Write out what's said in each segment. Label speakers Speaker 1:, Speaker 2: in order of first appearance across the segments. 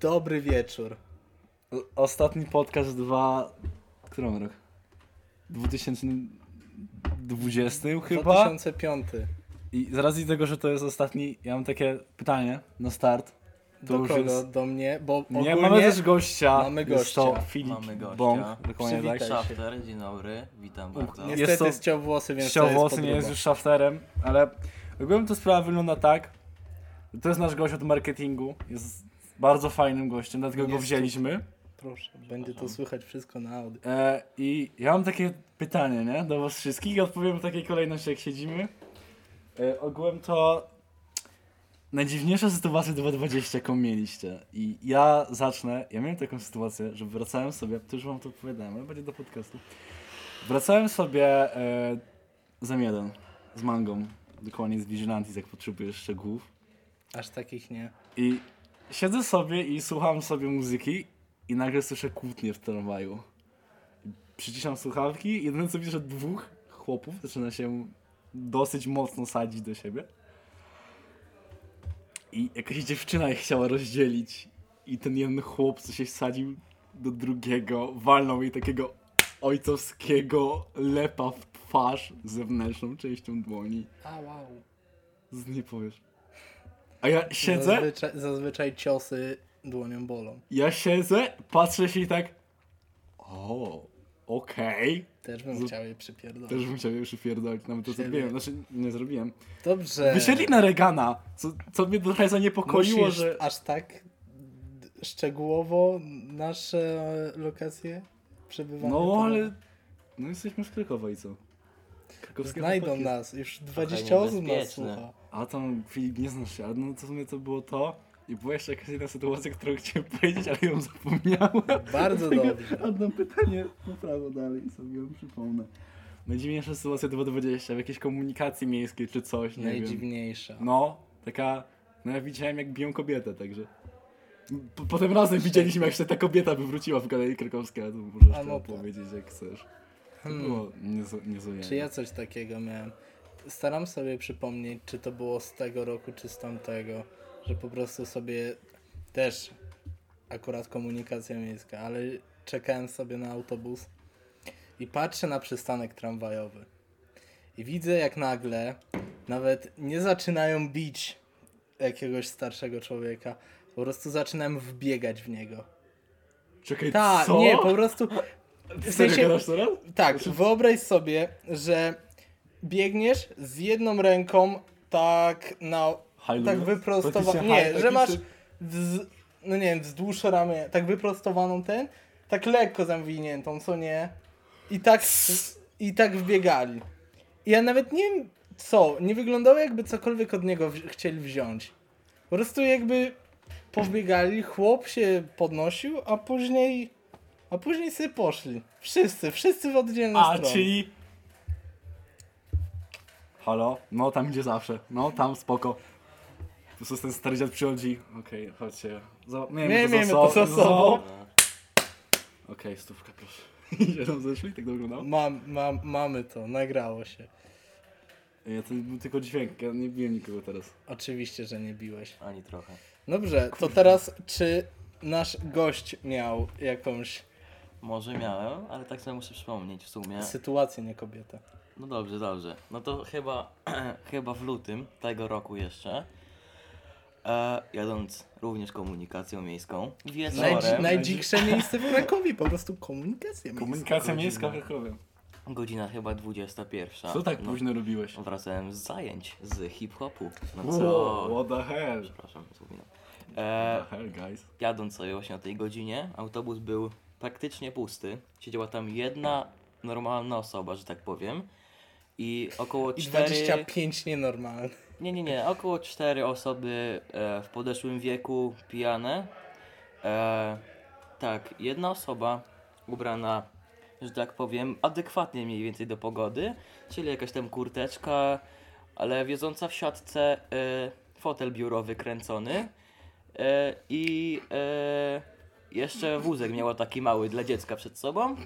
Speaker 1: Dobry wieczór.
Speaker 2: O- Ostatni podcast dwa... Którą rok? 2020 chyba?
Speaker 1: 2005.
Speaker 2: I z racji tego, że to jest ostatni, ja mam takie pytanie na start. To
Speaker 1: Do
Speaker 2: już
Speaker 1: kogo?
Speaker 2: jest...
Speaker 1: Do mnie? Bo ogólnie...
Speaker 2: Nie, mamy też gościa.
Speaker 1: mamy
Speaker 2: Jest to
Speaker 1: gościa.
Speaker 2: Filip
Speaker 3: Mamy gościa.
Speaker 2: Bąk, dokładnie
Speaker 1: Przywitaj.
Speaker 2: tak.
Speaker 3: Szafter, dzień dobry, witam bardzo.
Speaker 1: Niestety
Speaker 2: Jest to-
Speaker 1: ściął włosy, więc
Speaker 2: Ściął
Speaker 1: to jest
Speaker 2: włosy, nie
Speaker 1: podróba.
Speaker 2: jest już szafterem, ale ogólnie to sprawa wygląda tak. że To jest nasz gość od marketingu, jest bardzo fajnym gościem, dlatego go
Speaker 1: Jest
Speaker 2: wzięliśmy.
Speaker 1: Proszę, będzie to słychać wszystko na audio.
Speaker 2: E, I ja mam takie pytanie, nie? Do was wszystkich. Odpowiem w takiej kolejności, jak siedzimy. E, ogółem to najdziwniejsza sytuacja 2020, jaką mieliście. I ja zacznę. Ja miałem taką sytuację, że wracałem sobie, to już wam to opowiadałem, ale będzie do podcastu. Wracałem sobie e, z M1, z mangą, dokładnie z Vigilantes, jak potrzebujesz szczegółów.
Speaker 1: Aż takich nie.
Speaker 2: I siedzę sobie i słucham sobie muzyki i nagle słyszę kłótnię w tramwaju. Przyciszam słuchawki i jedyne co widzę, że dwóch chłopów zaczyna się dosyć mocno sadzić do siebie. I jakaś dziewczyna ich chciała rozdzielić. I ten jeden chłop, co się sadził do drugiego, walnął jej takiego ojcowskiego lepa w twarz zewnętrzną częścią dłoni.
Speaker 1: A wow.
Speaker 2: Z nie powiesz. A ja siedzę
Speaker 1: Zazwyczaj, zazwyczaj ciosy dłonią bolą.
Speaker 2: Ja siedzę, patrzę się i tak. O, okej.
Speaker 1: Też bym
Speaker 2: Z-
Speaker 1: chciał je przypierdolić.
Speaker 2: Też bym chciał już upierdolić, nawet to
Speaker 1: Siebie.
Speaker 2: zrobiłem. Znaczy, nie zrobiłem.
Speaker 1: Eee. Dobrze.
Speaker 2: Wysiedli na Regana, co, co mnie trochę zaniepokoiło,
Speaker 1: Musisz
Speaker 2: że.
Speaker 1: aż tak d- szczegółowo nasze lokacje przebywania.
Speaker 2: No,
Speaker 1: to-
Speaker 2: ale. No, jesteśmy z Krakowa i co? Krakowskie
Speaker 1: Znajdą
Speaker 2: chłopaki.
Speaker 1: nas, już 20 osób nas
Speaker 3: niebezpieczne.
Speaker 1: słucha.
Speaker 2: A tam Filip nie znasz się, ale no to w sumie to było to. I była jeszcze jakaś inna sytuacja, którą chciałem powiedzieć, ale ją zapomniałem.
Speaker 1: Bardzo
Speaker 2: Dlatego
Speaker 1: dobrze.
Speaker 2: Oddam pytanie na prawo dalej i sobie ją przypomnę. Najdziwniejsza sytuacja 220 w jakiejś komunikacji miejskiej czy coś, nie wiem.
Speaker 1: Najdziwniejsza.
Speaker 2: No, taka, no ja widziałem jak biją kobietę, także. Po, potem razem widzieliśmy jak się ta kobieta wywróciła w galerii krakowskiej, ale to możesz
Speaker 1: A no
Speaker 2: no
Speaker 1: tak.
Speaker 2: powiedzieć jak chcesz. To
Speaker 1: Hmm.
Speaker 2: było niezo- niezłe.
Speaker 1: Czy ja coś takiego miałem? Staram sobie przypomnieć, czy to było z tego roku, czy z tamtego, że po prostu sobie też akurat komunikacja miejska, ale czekałem sobie na autobus i patrzę na przystanek tramwajowy. I widzę jak nagle nawet nie zaczynają bić jakiegoś starszego człowieka, po prostu zaczynałem wbiegać w niego.
Speaker 2: Czekaj,
Speaker 1: Tak,
Speaker 2: co?
Speaker 1: nie, po prostu. W
Speaker 2: Serio
Speaker 1: sensie,
Speaker 2: gadasz teraz?
Speaker 1: tak, wyobraź sobie, że biegniesz z jedną ręką tak na tak wyprostowaną.
Speaker 2: Praktycznie high,
Speaker 1: Nie,
Speaker 2: taki
Speaker 1: że masz
Speaker 2: czy-
Speaker 1: wz, no nie wiem, wzdłuż ramię, tak wyprostowaną ten, tak lekko zawiniętą, co nie? I tak i tak wbiegali. I Ja nawet nie wiem co, nie wyglądało jakby cokolwiek od niego wzi- chcieli wziąć. Po prostu jakby powbiegali, chłop się podnosił, a później a później sobie poszli. Wszyscy, wszyscy w oddzielne
Speaker 2: A,
Speaker 1: strony.
Speaker 2: czyli... Halo? No, tam idzie zawsze. No, tam, spoko. Po prostu ten stary dziad przychodzi. Okej, chodźcie. Za...
Speaker 1: Nie,
Speaker 2: Miejmy,
Speaker 1: miejmy to za sobą.
Speaker 2: Okej, stówka, proszę. Idzie tam zeszli, tak to wyglądało?
Speaker 1: Mam, mam, mamy to, nagrało się.
Speaker 2: E, Ja to był tylko dźwięk, ja nie biłem nikogo teraz.
Speaker 1: Oczywiście, że nie biłeś.
Speaker 3: Ani trochę.
Speaker 1: Dobrze, to teraz czy nasz gość miał jakąś
Speaker 3: Może miałem, ale tak sobie muszę przypomnieć w sumie.
Speaker 1: sytuację, nie kobietę?
Speaker 3: No dobrze, dobrze. No to chyba, chyba w lutym tego roku jeszcze, e, jadąc również komunikacją miejską,
Speaker 1: Najdzi-
Speaker 3: wieczorem,
Speaker 1: najdziksze miejsce w Krakowie, po prostu komunikacja miejska.
Speaker 2: Komunikacja
Speaker 3: Godzina.
Speaker 2: miejska w Krakowie.
Speaker 3: godzina chyba 21.
Speaker 2: Co tak
Speaker 3: no,
Speaker 2: późno robiłeś?
Speaker 3: Wracałem z zajęć, z hip-hopu. No
Speaker 2: Wow,
Speaker 3: co?
Speaker 2: what the hell?
Speaker 3: Przepraszam, zgubiłem.
Speaker 2: What
Speaker 3: E,
Speaker 2: the hell, guys?
Speaker 3: jadąc sobie właśnie o tej godzinie, autobus był praktycznie pusty. Siedziała tam jedna normalna osoba, że tak powiem. I około
Speaker 1: I
Speaker 3: cztery
Speaker 1: 25 nienormalne.
Speaker 3: Nie, nie, nie. Około cztery osoby e, w podeszłym wieku pijane. E, tak, jedna osoba ubrana, że tak powiem, adekwatnie mniej więcej do pogody, czyli jakaś tam kurteczka, ale wiedząca w siatce e, fotel biurowy kręcony e, i e, jeszcze wózek miała taki mały dla dziecka przed sobą.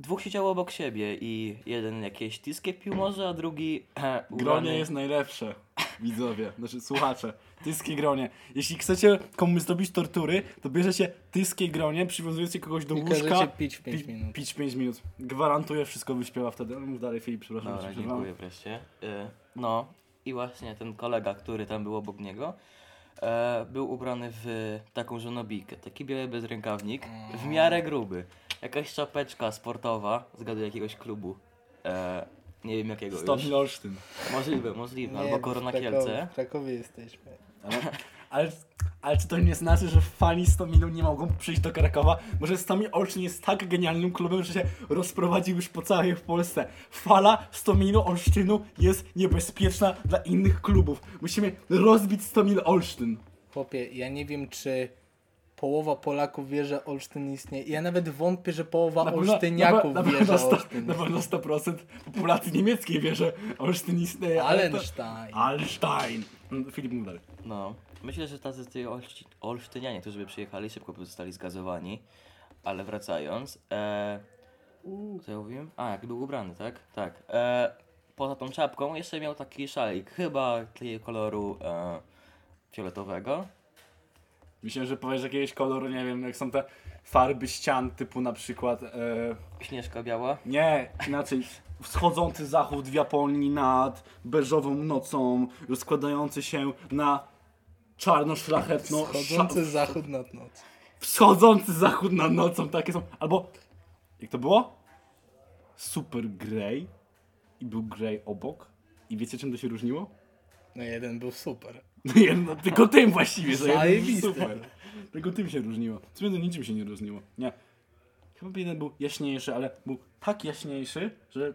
Speaker 3: Dwóch siedziało obok siebie i jeden jakieś tiskie pił może, a drugi... e,
Speaker 2: Gronie
Speaker 3: ubrany-
Speaker 2: jest najlepsze. widzowie, znaczy słuchacze, tyskie gronie. Jeśli chcecie komuś zrobić tortury, to bierzecie tyskie gronie, przywiązujecie kogoś do
Speaker 1: I
Speaker 2: łóżka.
Speaker 1: każecie pić w pięć
Speaker 2: pi-
Speaker 1: minut.
Speaker 2: Pić 5 minut. Gwarantuję, wszystko wyśpiewa wtedy. Ale Mów dalej, Filip, przepraszam, że
Speaker 3: Dobra,
Speaker 2: ci przerwałem.
Speaker 3: dziękuję wreszcie. Y, No i właśnie ten kolega, który tam był obok niego, e, był ubrany w taką żonobijkę, taki biały bezrękawnik, w
Speaker 2: Mm.
Speaker 3: miarę gruby. Jakaś czapeczka sportowa, zgaduję jakiegoś klubu, e, nie wiem jakiego
Speaker 2: Stop
Speaker 3: już.
Speaker 2: Olsztyn.
Speaker 3: Możliwe, możliwe,
Speaker 1: Nie,
Speaker 3: albo Korona
Speaker 1: w Krakowie-
Speaker 3: Kielce.
Speaker 1: W Krakowie jesteśmy.
Speaker 2: Ale, ale, ale czy to nie znaczy, że fani Stominu nie mogą przyjść do Krakowa? Może Stomin Olsztyn jest tak genialnym klubem, że się rozprowadził już po całej w Polsce. Fala Stominu Olsztynu jest niebezpieczna dla innych klubów. Musimy rozbić Stomin Olsztyn.
Speaker 1: Chłopie, ja nie wiem, czy połowa Polaków wie, że Olsztyn istnieje. Ja nawet wątpię, że połowa Olsztyniaków
Speaker 2: na,
Speaker 1: wie, że
Speaker 2: pewno sto-
Speaker 1: Olsztyn
Speaker 2: na pewno 100% populacji niemieckiej wie, że Olsztyn istnieje.
Speaker 1: istnieje.
Speaker 2: ale to-
Speaker 1: Allenstein.
Speaker 2: Alstein. Filip mów dalej.
Speaker 3: No, myślę, że tacy ty Olszci- olsztynianie, którzy by przyjechali, szybko by zostali zgazowani. Ale wracając, e, co ja mówiłem? A, jak był ubrany, tak? Tak. E, poza tą czapką jeszcze miał taki szalik, chyba takiego koloru e, fioletowego.
Speaker 2: Myślałem, że powiesz jakiegoś koloru, nie wiem, jak są te farby ścian typu na przykład... E,
Speaker 3: Śnieżka biała.
Speaker 2: Nie, inaczej. Wschodzący zachód w Japonii nad beżową nocą, rozkładający się na czarno-szlachetną...
Speaker 1: Wschodzący
Speaker 2: sza-
Speaker 1: zachód nad noc.
Speaker 2: Wschodzący zachód nad nocą, takie są. Albo, jak to było? Super Grey i był Grey obok. I wiecie czym to się różniło?
Speaker 1: No jeden był super.
Speaker 2: No jedno, tylko tym właściwie, że jeden był
Speaker 1: Zajebiste.
Speaker 2: super. Tylko tym się różniło. W sumie to niczym się nie różniło. Nie. Chyba jeden był jaśniejszy, ale był tak jaśniejszy, że...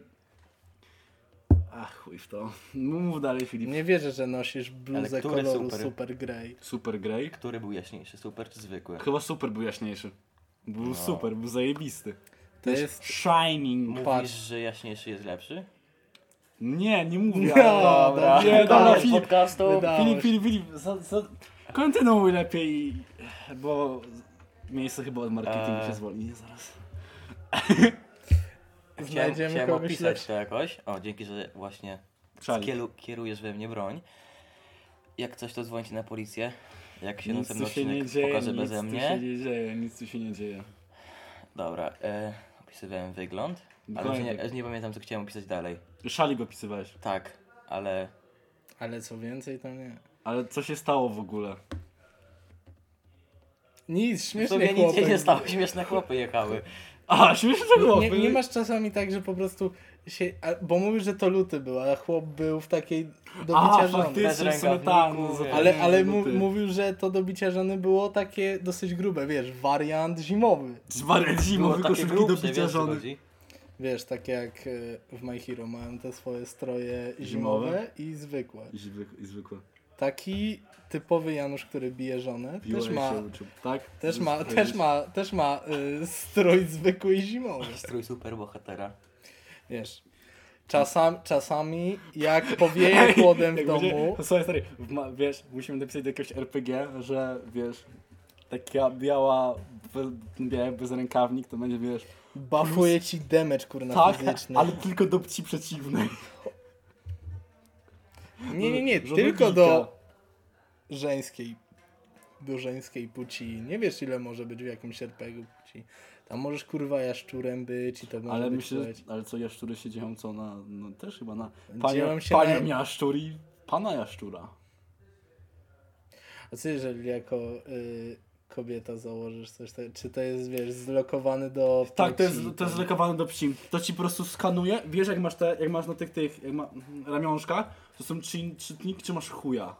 Speaker 2: Ach, chuj w to. Mów dalej, Filip.
Speaker 1: Nie wierzę, że nosisz
Speaker 3: Ale
Speaker 1: bluzę
Speaker 3: który
Speaker 1: koloru
Speaker 3: super?
Speaker 1: super, grey.
Speaker 2: Super Grey.
Speaker 3: Który był jaśniejszy, super czy zwykły?
Speaker 2: Chyba super był jaśniejszy. Był super, był zajebisty.
Speaker 1: No. To jest...
Speaker 2: Shining.
Speaker 3: Mówisz,
Speaker 1: patrz.
Speaker 3: że jaśniejszy jest lepszy?
Speaker 2: Nie, nie mówię.
Speaker 1: No, dobra.
Speaker 2: Nie, dobra,
Speaker 1: Wydałeś
Speaker 2: Filip.
Speaker 3: podcastu.
Speaker 1: Wyda-
Speaker 2: Filip, Filip, Filip. Za, za... Kontynuuj lepiej, bo miejsce chyba od marketingu
Speaker 3: Eee.
Speaker 2: się zwolni. Nie, zaraz.
Speaker 3: Chciałem,
Speaker 1: Znajdziemy
Speaker 3: chciałem
Speaker 1: kogoś
Speaker 3: opisać
Speaker 1: lepszego.
Speaker 3: to jakoś. O, dzięki, że właśnie
Speaker 2: Szalik.
Speaker 3: skielu, kierujesz we mnie broń. Jak coś, to dzwońcie na policję. Jak się
Speaker 2: Nic
Speaker 3: nocem
Speaker 2: tu się
Speaker 3: nocnik
Speaker 2: nie dzieje,
Speaker 3: pokaże
Speaker 2: nic
Speaker 3: beze
Speaker 2: tu
Speaker 3: mnie.
Speaker 2: się nie dzieje, nic tu się nie dzieje.
Speaker 3: Dobra, e, opisywałem wygląd, ale już
Speaker 2: Dokładnie
Speaker 3: nie,
Speaker 2: tak.
Speaker 3: już nie pamiętam, co chciałem opisać dalej.
Speaker 2: Szalik opisywałeś,
Speaker 3: Tak, ale
Speaker 1: Ale co więcej, to nie.
Speaker 2: ale co się stało w ogóle?
Speaker 1: Nic,
Speaker 3: w
Speaker 1: śmieszny
Speaker 3: sumie nic
Speaker 1: chłopak.
Speaker 3: się nie stało, śmieszne chłopy jechały.
Speaker 2: A, tak śmieszne to było.
Speaker 1: Nie, nie masz czasami tak, że po prostu się... A, bo mówisz, że to luty był, a chłop był w takiej do
Speaker 2: A,
Speaker 1: bicia żony.
Speaker 3: Bez
Speaker 2: faktycznie, w sumie
Speaker 3: rękawników,
Speaker 2: tak.
Speaker 3: wiesz.
Speaker 2: zapomniałem,
Speaker 1: Ale, ale
Speaker 2: bo
Speaker 1: mu,
Speaker 2: ty.
Speaker 1: mówił, że to do bicia żony było takie dosyć grube, wiesz, wariant zimowy.
Speaker 2: Zwariat
Speaker 3: Było
Speaker 2: zimą, tylko
Speaker 3: takie
Speaker 2: szybki do
Speaker 3: grubsze,
Speaker 2: picia
Speaker 3: wiesz, co
Speaker 2: żony.
Speaker 3: chodzi?
Speaker 1: Wiesz, tak jak e, w My Hero mają te swoje stroje
Speaker 2: Zimowe?
Speaker 1: zimowe, i zwykłe.
Speaker 2: I zwykłe- i zwykłe.
Speaker 1: Taki typowy Janusz, który bije żonę,
Speaker 2: Piłeś
Speaker 1: też ma,
Speaker 2: się uczył, tak?
Speaker 1: też ma,
Speaker 2: Zwykłe
Speaker 1: też
Speaker 2: jest.
Speaker 1: ma, też ma y, strój zwykły i zimowy.
Speaker 3: Strój superbohatera.
Speaker 1: Wiesz, czasami, czasami jak powieje chłodem w
Speaker 2: Jak będzie-
Speaker 1: domu,
Speaker 2: Słuchaj, stary, w ma- wiesz, musimy napisać do jakiegoś RPG, że wiesz, taka biała, be, biały bezrękawnik, to będzie, wiesz,
Speaker 1: bafuje ci damage, kurna,
Speaker 2: tak,
Speaker 1: fizyczny.
Speaker 2: ale tylko do pci przeciwnej.
Speaker 1: Nie, nie, nie,
Speaker 2: Żadnego
Speaker 1: tylko
Speaker 2: dzika.
Speaker 1: do żeńskiej, do żeńskiej płci. Nie wiesz, ile może być w jakimś RPG płci. Tam możesz, kurwa, jaszczurem być i to może
Speaker 2: Ale
Speaker 1: być
Speaker 2: myślę,
Speaker 1: płeć.
Speaker 2: że- ale co jaszczury się dzieją, co na, no też chyba na
Speaker 1: Dzieją
Speaker 2: panią,
Speaker 1: się
Speaker 2: panią
Speaker 1: na-
Speaker 2: jaszczur i pana jaszczura.
Speaker 1: A co jeżeli jako y, kobieta założysz coś takiego? Czy to jest, wiesz, zlokowany do
Speaker 2: Tak, to jest,
Speaker 1: płci?
Speaker 2: to jest lokowane do psim. To ci po prostu skanuje, wiesz jak masz te, jak masz na tych, tych, jak ma, ramionczka, to są trzy, trzy dni, czy masz chuja.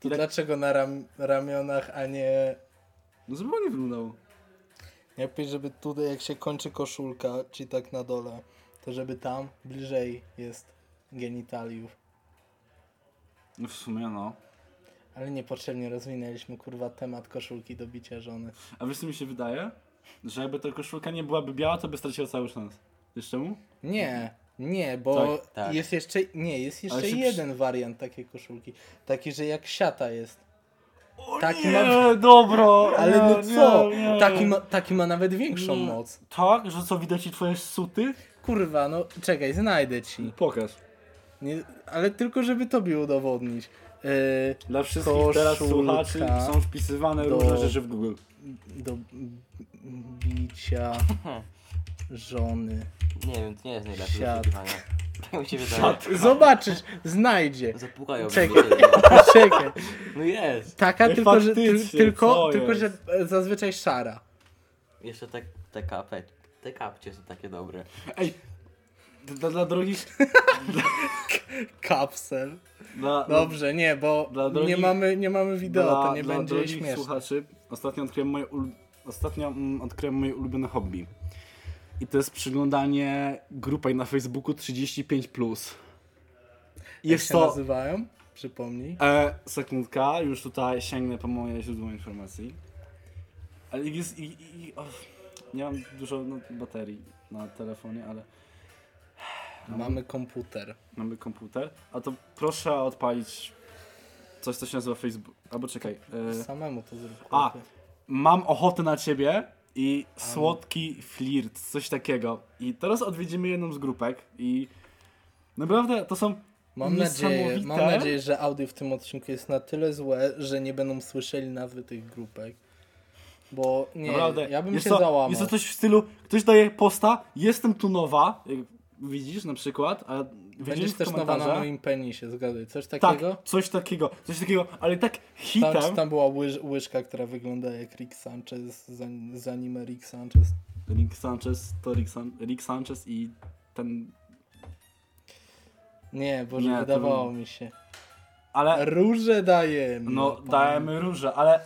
Speaker 1: To dlaczego na ram, ramionach, a nie...
Speaker 2: No żeby nie wyglądało.
Speaker 1: Jak powiedz, żeby tutaj, jak się kończy koszulka, czy tak na dole, to żeby tam bliżej jest genitaliów.
Speaker 2: No w sumie no.
Speaker 1: Ale niepotrzebnie rozwinęliśmy, kurwa, temat koszulki do bicia żony.
Speaker 2: A wiesz co mi się wydaje? Że jakby ta koszulka nie byłaby biała, to by straciła cały sens. Wiesz czemu?
Speaker 1: Nie, nie, bo
Speaker 2: Tak,
Speaker 3: tak.
Speaker 1: jest jeszcze, nie, jest jeszcze
Speaker 2: Ale się
Speaker 1: jeden wariant takiej koszulki. Taki, że jak siata jest.
Speaker 2: O
Speaker 1: Taki
Speaker 2: nie,
Speaker 1: ma-
Speaker 2: dobro!
Speaker 1: Ale
Speaker 2: nie,
Speaker 1: no co?
Speaker 2: Nie, No. nie.
Speaker 1: Taki, ma, taki ma nawet większą
Speaker 2: Nie.
Speaker 1: moc.
Speaker 2: Tak? Że co, widać ci twoje suty?
Speaker 1: Kurwa, no czekaj, znajdę ci.
Speaker 2: Pokaż.
Speaker 1: Nie, ale tylko, żeby tobie udowodnić. Yy,
Speaker 2: Dla wszystkich
Speaker 1: Koszulka
Speaker 2: teraz słuchaczy są wpisywane
Speaker 1: do-
Speaker 2: różne rzeczy w Google.
Speaker 1: do b- bicia żony.
Speaker 3: Nie wiem, to nie jest najlepsze
Speaker 1: Siad.
Speaker 3: wyszukiwanie. Tak mi się wydaje.
Speaker 1: Zobaczysz, znajdzie.
Speaker 3: Zapukają mi
Speaker 1: Czekaj.
Speaker 3: do siebie.
Speaker 1: Czekaj.
Speaker 3: No jest.
Speaker 1: Taka,
Speaker 2: Ej,
Speaker 1: tylko, że, tyl,
Speaker 2: faktycznie,
Speaker 1: tylko,
Speaker 2: co
Speaker 1: tylko
Speaker 2: jest?
Speaker 1: że e, zazwyczaj szara.
Speaker 3: Jeszcze te, te kapę. Te kapcie są takie dobre.
Speaker 2: Ej, dla, dla drogich...
Speaker 1: Kapsel.
Speaker 2: Dla,
Speaker 1: Dobrze, nie, bo
Speaker 2: Dla
Speaker 1: nie,
Speaker 2: drogich-
Speaker 1: mamy, nie mamy wideo,
Speaker 2: dla,
Speaker 1: to nie
Speaker 2: dla
Speaker 1: będzie
Speaker 2: drogich
Speaker 1: śmieszne.
Speaker 2: słuchaczy, ostatnio odkryłem moje, ul... ostatnio, mm, odkryłem moje ulubione hobby. I to jest przyglądanie grupy na Facebooku 35+.
Speaker 1: Jak
Speaker 2: Jest
Speaker 1: się
Speaker 2: to...
Speaker 1: nazywają? Przypomnij.
Speaker 2: E, sekundka, już tutaj sięgnę po moje źródło informacji. Ale ich jest. I, i, i, och, nie mam dużo no, baterii na telefonie, ale No.
Speaker 1: Mamy komputer.
Speaker 2: mamy komputer. A to proszę odpalić coś, co się nazywa Facebook. Albo czekaj. E,
Speaker 1: Samemu to zrób.
Speaker 2: A.
Speaker 1: kurde.
Speaker 2: mam ochotę na ciebie i słodki flirt, coś takiego. I teraz odwiedzimy jedną z grupek i naprawdę to są.
Speaker 1: Mam nadzieję,
Speaker 2: niesamowite-
Speaker 1: mam nadzieję, że audio w tym odcinku jest na tyle złe, że nie będą słyszeli nazwy tych grupek. Bo nie,
Speaker 2: Naprawdę.
Speaker 1: ja bym
Speaker 2: jest
Speaker 1: się
Speaker 2: to,
Speaker 1: załamał.
Speaker 2: Jest to coś w stylu, ktoś daje posta, jestem tu nowa, jak widzisz na przykład, a widzisz
Speaker 1: Będziesz
Speaker 2: w
Speaker 1: też nowa na
Speaker 2: komentarzach-
Speaker 1: moim penisie, zgadaj. Coś
Speaker 2: Tak,
Speaker 1: takiego?
Speaker 2: coś takiego, coś takiego, ale tak hitem,
Speaker 1: Tam, czy tam była łyż, łyżka, która wygląda jak Rick Sanchez, zanim, zanim Rick Sanchez.
Speaker 2: Rick Sanchez, to Rick, San, Rick Sanchez i ten,
Speaker 1: Nie, Boże,
Speaker 2: Nie, to
Speaker 1: wydawało
Speaker 2: był-
Speaker 1: mi się.
Speaker 2: ale
Speaker 1: Róże dajemy.
Speaker 2: no
Speaker 1: Pan-
Speaker 2: dajemy róże, ale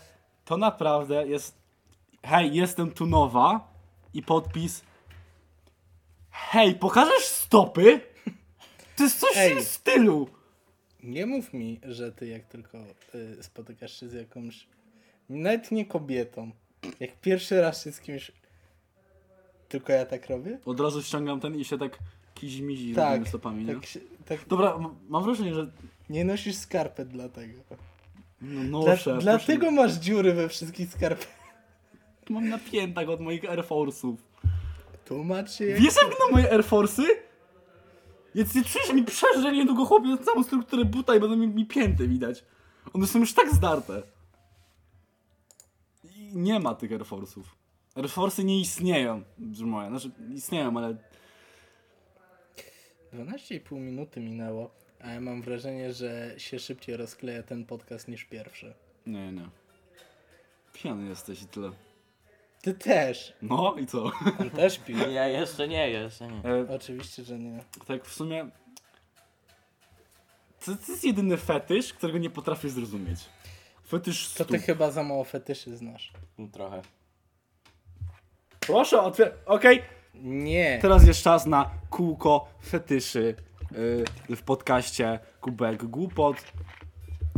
Speaker 2: to naprawdę jest, hej, jestem tu nowa i podpis, hej, pokażesz stopy? To jest coś w
Speaker 1: Ej.
Speaker 2: tym stylu.
Speaker 1: Nie mów mi, że ty jak tylko y, spotykasz się z jakąś, nawet nie kobietą, jak pierwszy raz się z kimś, tylko ja tak robię?
Speaker 2: Od razu ściągam ten i się tak kizimizi
Speaker 1: Tak,
Speaker 2: tak, stopami, nie?
Speaker 1: tak, się, tak
Speaker 2: Dobra, m- mam wrażenie, że
Speaker 1: nie nosisz skarpet dlatego.
Speaker 2: no, noszę.
Speaker 1: Dla,
Speaker 2: proszę.
Speaker 1: dlatego masz dziury we wszystkich skarpetach.
Speaker 2: Mam na piętach od moich Air Force'ów.
Speaker 1: Tłumacz się jak...
Speaker 2: Wiesz jak wyglądają moje Air Force'y? Więc nie czujesz mi przecież, że niedługo chłopie całą strukturę buta i będą mi, mi pięty widać. One są już tak zdarte. I nie ma tych Air Force'ów. Air Force'y nie istnieją, że moje. Znaczy, istnieją, ale
Speaker 1: 12,5 minuty minęło, a ja mam wrażenie, że się szybciej rozkleja ten podcast niż pierwszy.
Speaker 2: nie, nie. Pijany jesteś i tyle.
Speaker 1: Ty też.
Speaker 2: No i co?
Speaker 1: On też pił.
Speaker 3: Ja jeszcze nie, jeszcze nie.
Speaker 2: E,
Speaker 1: Oczywiście, że nie.
Speaker 2: tak w sumie... To, to jest jedyny fetysz, którego nie potrafię zrozumieć. Fetysz
Speaker 1: To
Speaker 2: stóp.
Speaker 1: ty chyba za mało fetyszy znasz.
Speaker 3: No Trochę.
Speaker 2: Proszę, otwier... Okej,
Speaker 1: Nie.
Speaker 2: Teraz jest czas na kółko fetyszy yy, w podcaście Kubek Głupot.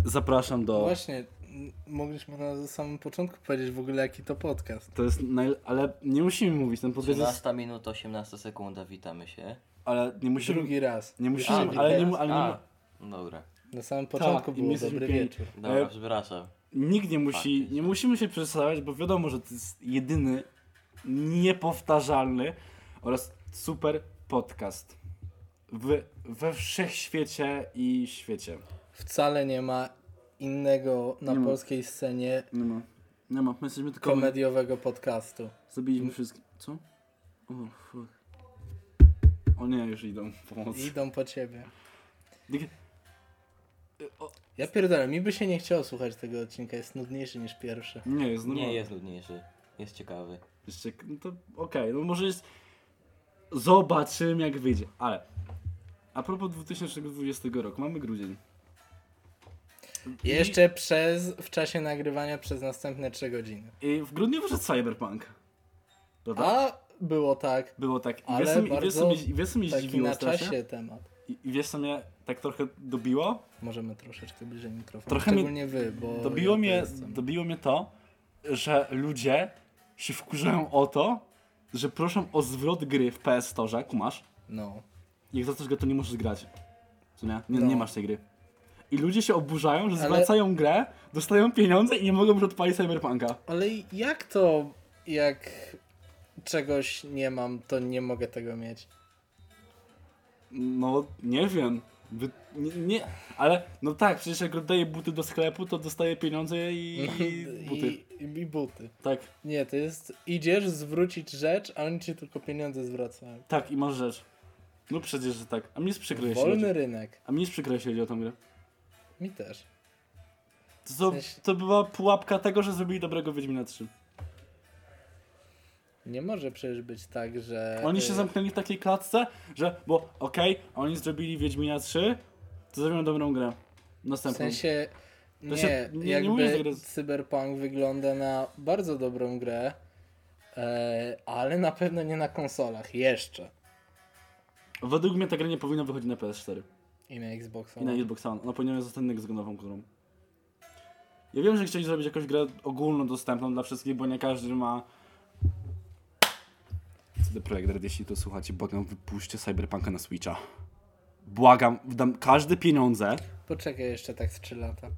Speaker 2: Zapraszam do.
Speaker 1: Właśnie, m- mogliśmy na samym początku powiedzieć w ogóle jaki to podcast.
Speaker 2: To jest naj... Ale nie musimy mówić, ten podcast jest.
Speaker 3: 13 minut, 18 sekunda, witamy się.
Speaker 2: Ale nie musimy.
Speaker 1: Drugi raz.
Speaker 2: Nie
Speaker 3: A,
Speaker 2: musimy,
Speaker 3: drugi
Speaker 2: ale nie,
Speaker 1: raz.
Speaker 2: mu- ale nie, mu-
Speaker 3: A, dobra.
Speaker 1: Na samym początku
Speaker 2: Tak, i my
Speaker 1: było
Speaker 2: jesteśmy
Speaker 1: dobry
Speaker 2: piękni.
Speaker 1: wieczór.
Speaker 3: Dobra,
Speaker 2: E,
Speaker 3: przepraszam.
Speaker 2: nikt nie musi.
Speaker 3: Faktycznie.
Speaker 2: Nie musimy się przestawiać, bo wiadomo, że to jest jedyny, niepowtarzalny oraz super podcast. W, we wszechświecie i świecie.
Speaker 1: Wcale nie ma innego na
Speaker 2: Nie ma.
Speaker 1: polskiej scenie
Speaker 2: Nie ma. Nie ma. My jesteśmy tylko.
Speaker 1: komediowego podcastu. Mm.
Speaker 2: Zabiliśmy wszystkich. Co? O, fuck. O nie, już idą pomoc.
Speaker 1: Idą po ciebie.
Speaker 2: Dyg- Y, o,
Speaker 1: Ja pierdolę, mi by się nie chciało słuchać tego odcinka, jest nudniejszy niż pierwszy.
Speaker 2: Nie, jest normalnie.
Speaker 3: Nie jest nudniejszy. Jest ciekawy.
Speaker 2: Jeszcze, no to okej, no może jest... Zobaczymy jak wyjdzie, ale... A propos 2020 roku, mamy grudzień. I-
Speaker 1: Jeszcze przez, w czasie nagrywania przez następne 3 godziny.
Speaker 2: I w grudniu wyszedł Cyberpunk. Prawda?
Speaker 1: A było tak,
Speaker 2: Było tak. I
Speaker 1: Ale
Speaker 2: wiesz, co mi- i wiesz, co
Speaker 1: bardzo
Speaker 2: mnie, i wiesz, co mnie
Speaker 1: taki
Speaker 2: zdziwiło
Speaker 1: na
Speaker 2: strasznie?
Speaker 1: czasie temat.
Speaker 2: I, I wiesz, co mnie tak trochę dobiło?
Speaker 1: Możemy troszeczkę bliżej mikrofonu,
Speaker 2: Trochę
Speaker 1: Trochę
Speaker 2: mnie-
Speaker 1: szczególnie wy, bo...
Speaker 2: Dobiło,
Speaker 1: ja tu
Speaker 2: mnie,
Speaker 1: jestem.
Speaker 2: dobiło mnie to, że ludzie się wkurzają o to, że proszą o zwrot gry w PS Store, kumasz?
Speaker 1: No.
Speaker 2: Jak zaczniesz grę, to nie możesz grać. Co nie? Nie,
Speaker 1: No.
Speaker 2: nie masz tej gry. I ludzie się oburzają, że
Speaker 1: Ale-
Speaker 2: zwracają grę, dostają pieniądze i nie mogą już odpalić Cyberpunka.
Speaker 1: Ale jak to, jak czegoś nie mam, to nie mogę tego mieć?
Speaker 2: No, nie wiem. Wy- Nie, nie, ale no tak, przecież jak oddaję buty do sklepu, to dostaję pieniądze i, i buty.
Speaker 1: I, i, I buty.
Speaker 2: Tak,
Speaker 1: Nie, to jest idziesz zwrócić rzecz, a oni ci tylko pieniądze zwracają.
Speaker 2: tak, i masz rzecz. No przecież, że tak. A mnie jest przykro, jeśli chodzi.
Speaker 1: Wolny rynek.
Speaker 2: A mnie jest przykro, jeśli chodzi o tą grę.
Speaker 1: Mi też.
Speaker 2: To, to,
Speaker 1: sensie-
Speaker 2: to była pułapka tego, że zrobili dobrego Wiedźmina 3.
Speaker 1: Nie może przecież być tak, że...
Speaker 2: Oni się
Speaker 1: y,
Speaker 2: zamknęli w takiej klatce, że, bo okej, oni zrobili Wiedźmina 3, to zrobią dobrą grę.
Speaker 1: W
Speaker 2: Następną.
Speaker 1: sensie, nie,
Speaker 2: się- nie- nie mówię, że
Speaker 1: jakby
Speaker 2: gra jest-
Speaker 1: Cyberpunk wygląda na bardzo dobrą grę, e, ale na pewno nie na konsolach, jeszcze.
Speaker 2: Według mnie ta gra nie powinna wychodzić na PS4
Speaker 1: I na Xboxa.
Speaker 2: i na Xbox One. no Ona powinna zostać next-genową grą. Ja wiem, że chcieli zrobić jakąś grę ogólnodostępną dla wszystkich, bo nie każdy ma... CD Projekt Red, jeśli to słuchacie, błagam, wypuśćcie Cyberpunka na Switcha. Błagam, dam każde pieniądze,
Speaker 1: Poczekaj jeszcze tak z 3 lata.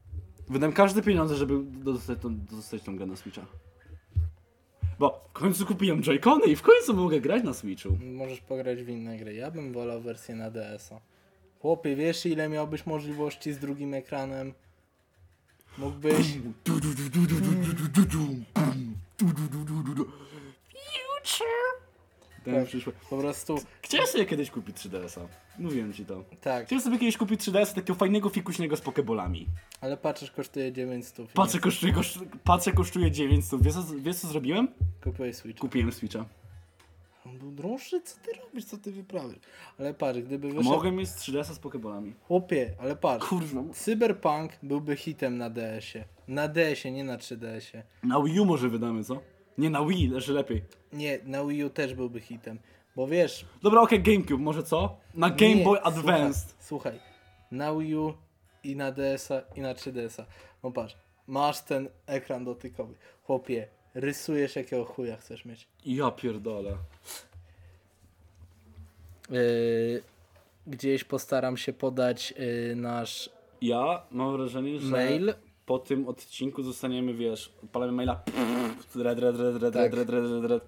Speaker 2: Wydam każde pieniądze, żeby dostać tą, dostać tą grę na Switcha. Bo w końcu kupiłem Joy-Cony i w końcu mogę grać na Switchu.
Speaker 1: Możesz pograć w inne gry. Ja bym wolał wersję na DS-a. Chłopie, wiesz ile miałbyś możliwości z drugim ekranem? Mógłbyś...
Speaker 2: Ten przyszły.
Speaker 1: Po prostu,
Speaker 2: Chciałem sobie kiedyś kupić 3DS-a. Mówiłem ci to.
Speaker 1: tak.
Speaker 2: Chciałem sobie kiedyś kupić 3DS-a takiego fajnego fikuśnego z pokebolami.
Speaker 1: Ale patrzysz, kosztuje 900.
Speaker 2: Patrzę, kosztuje, koszt, patrzę, kosztuje 900. Wiesz, co- wiesz co zrobiłem?
Speaker 1: Kupiłeś Switch.
Speaker 2: Kupiłem Switcha.
Speaker 1: On był droższy? Co ty robisz? Co ty wyprawiasz? Ale patrz, gdyby wyszedł...
Speaker 2: Mogłem mieć 3DS-a z pokebolami.
Speaker 1: Chłopie, ale patrz.
Speaker 2: Kurwa.
Speaker 1: Cyberpunk byłby hitem na DS-ie. Na DS-ie, nie na 3DS-ie.
Speaker 2: Na Wii U może wydamy, co? Nie, na Wii, leży lepiej.
Speaker 1: Nie, na Wii U też byłby hitem. Bo wiesz...
Speaker 2: Dobra, okej, GameCube, może co? Na Game
Speaker 1: nie,
Speaker 2: Boy
Speaker 1: słuchaj,
Speaker 2: Advanced.
Speaker 1: Słuchaj, na Wii U i na DS-a i na 3DS-a. No patrz, masz ten ekran dotykowy. Chłopie, rysujesz jakiego chuja chcesz mieć.
Speaker 2: Ja pierdolę.
Speaker 1: Yy, gdzieś postaram się podać yy, nasz
Speaker 2: Ja mam wrażenie, że
Speaker 1: mail.
Speaker 2: po tym odcinku zostaniemy, wiesz, odpalamy maila. Red, red, red, red,
Speaker 1: Tak.
Speaker 2: red, red, red, red, red.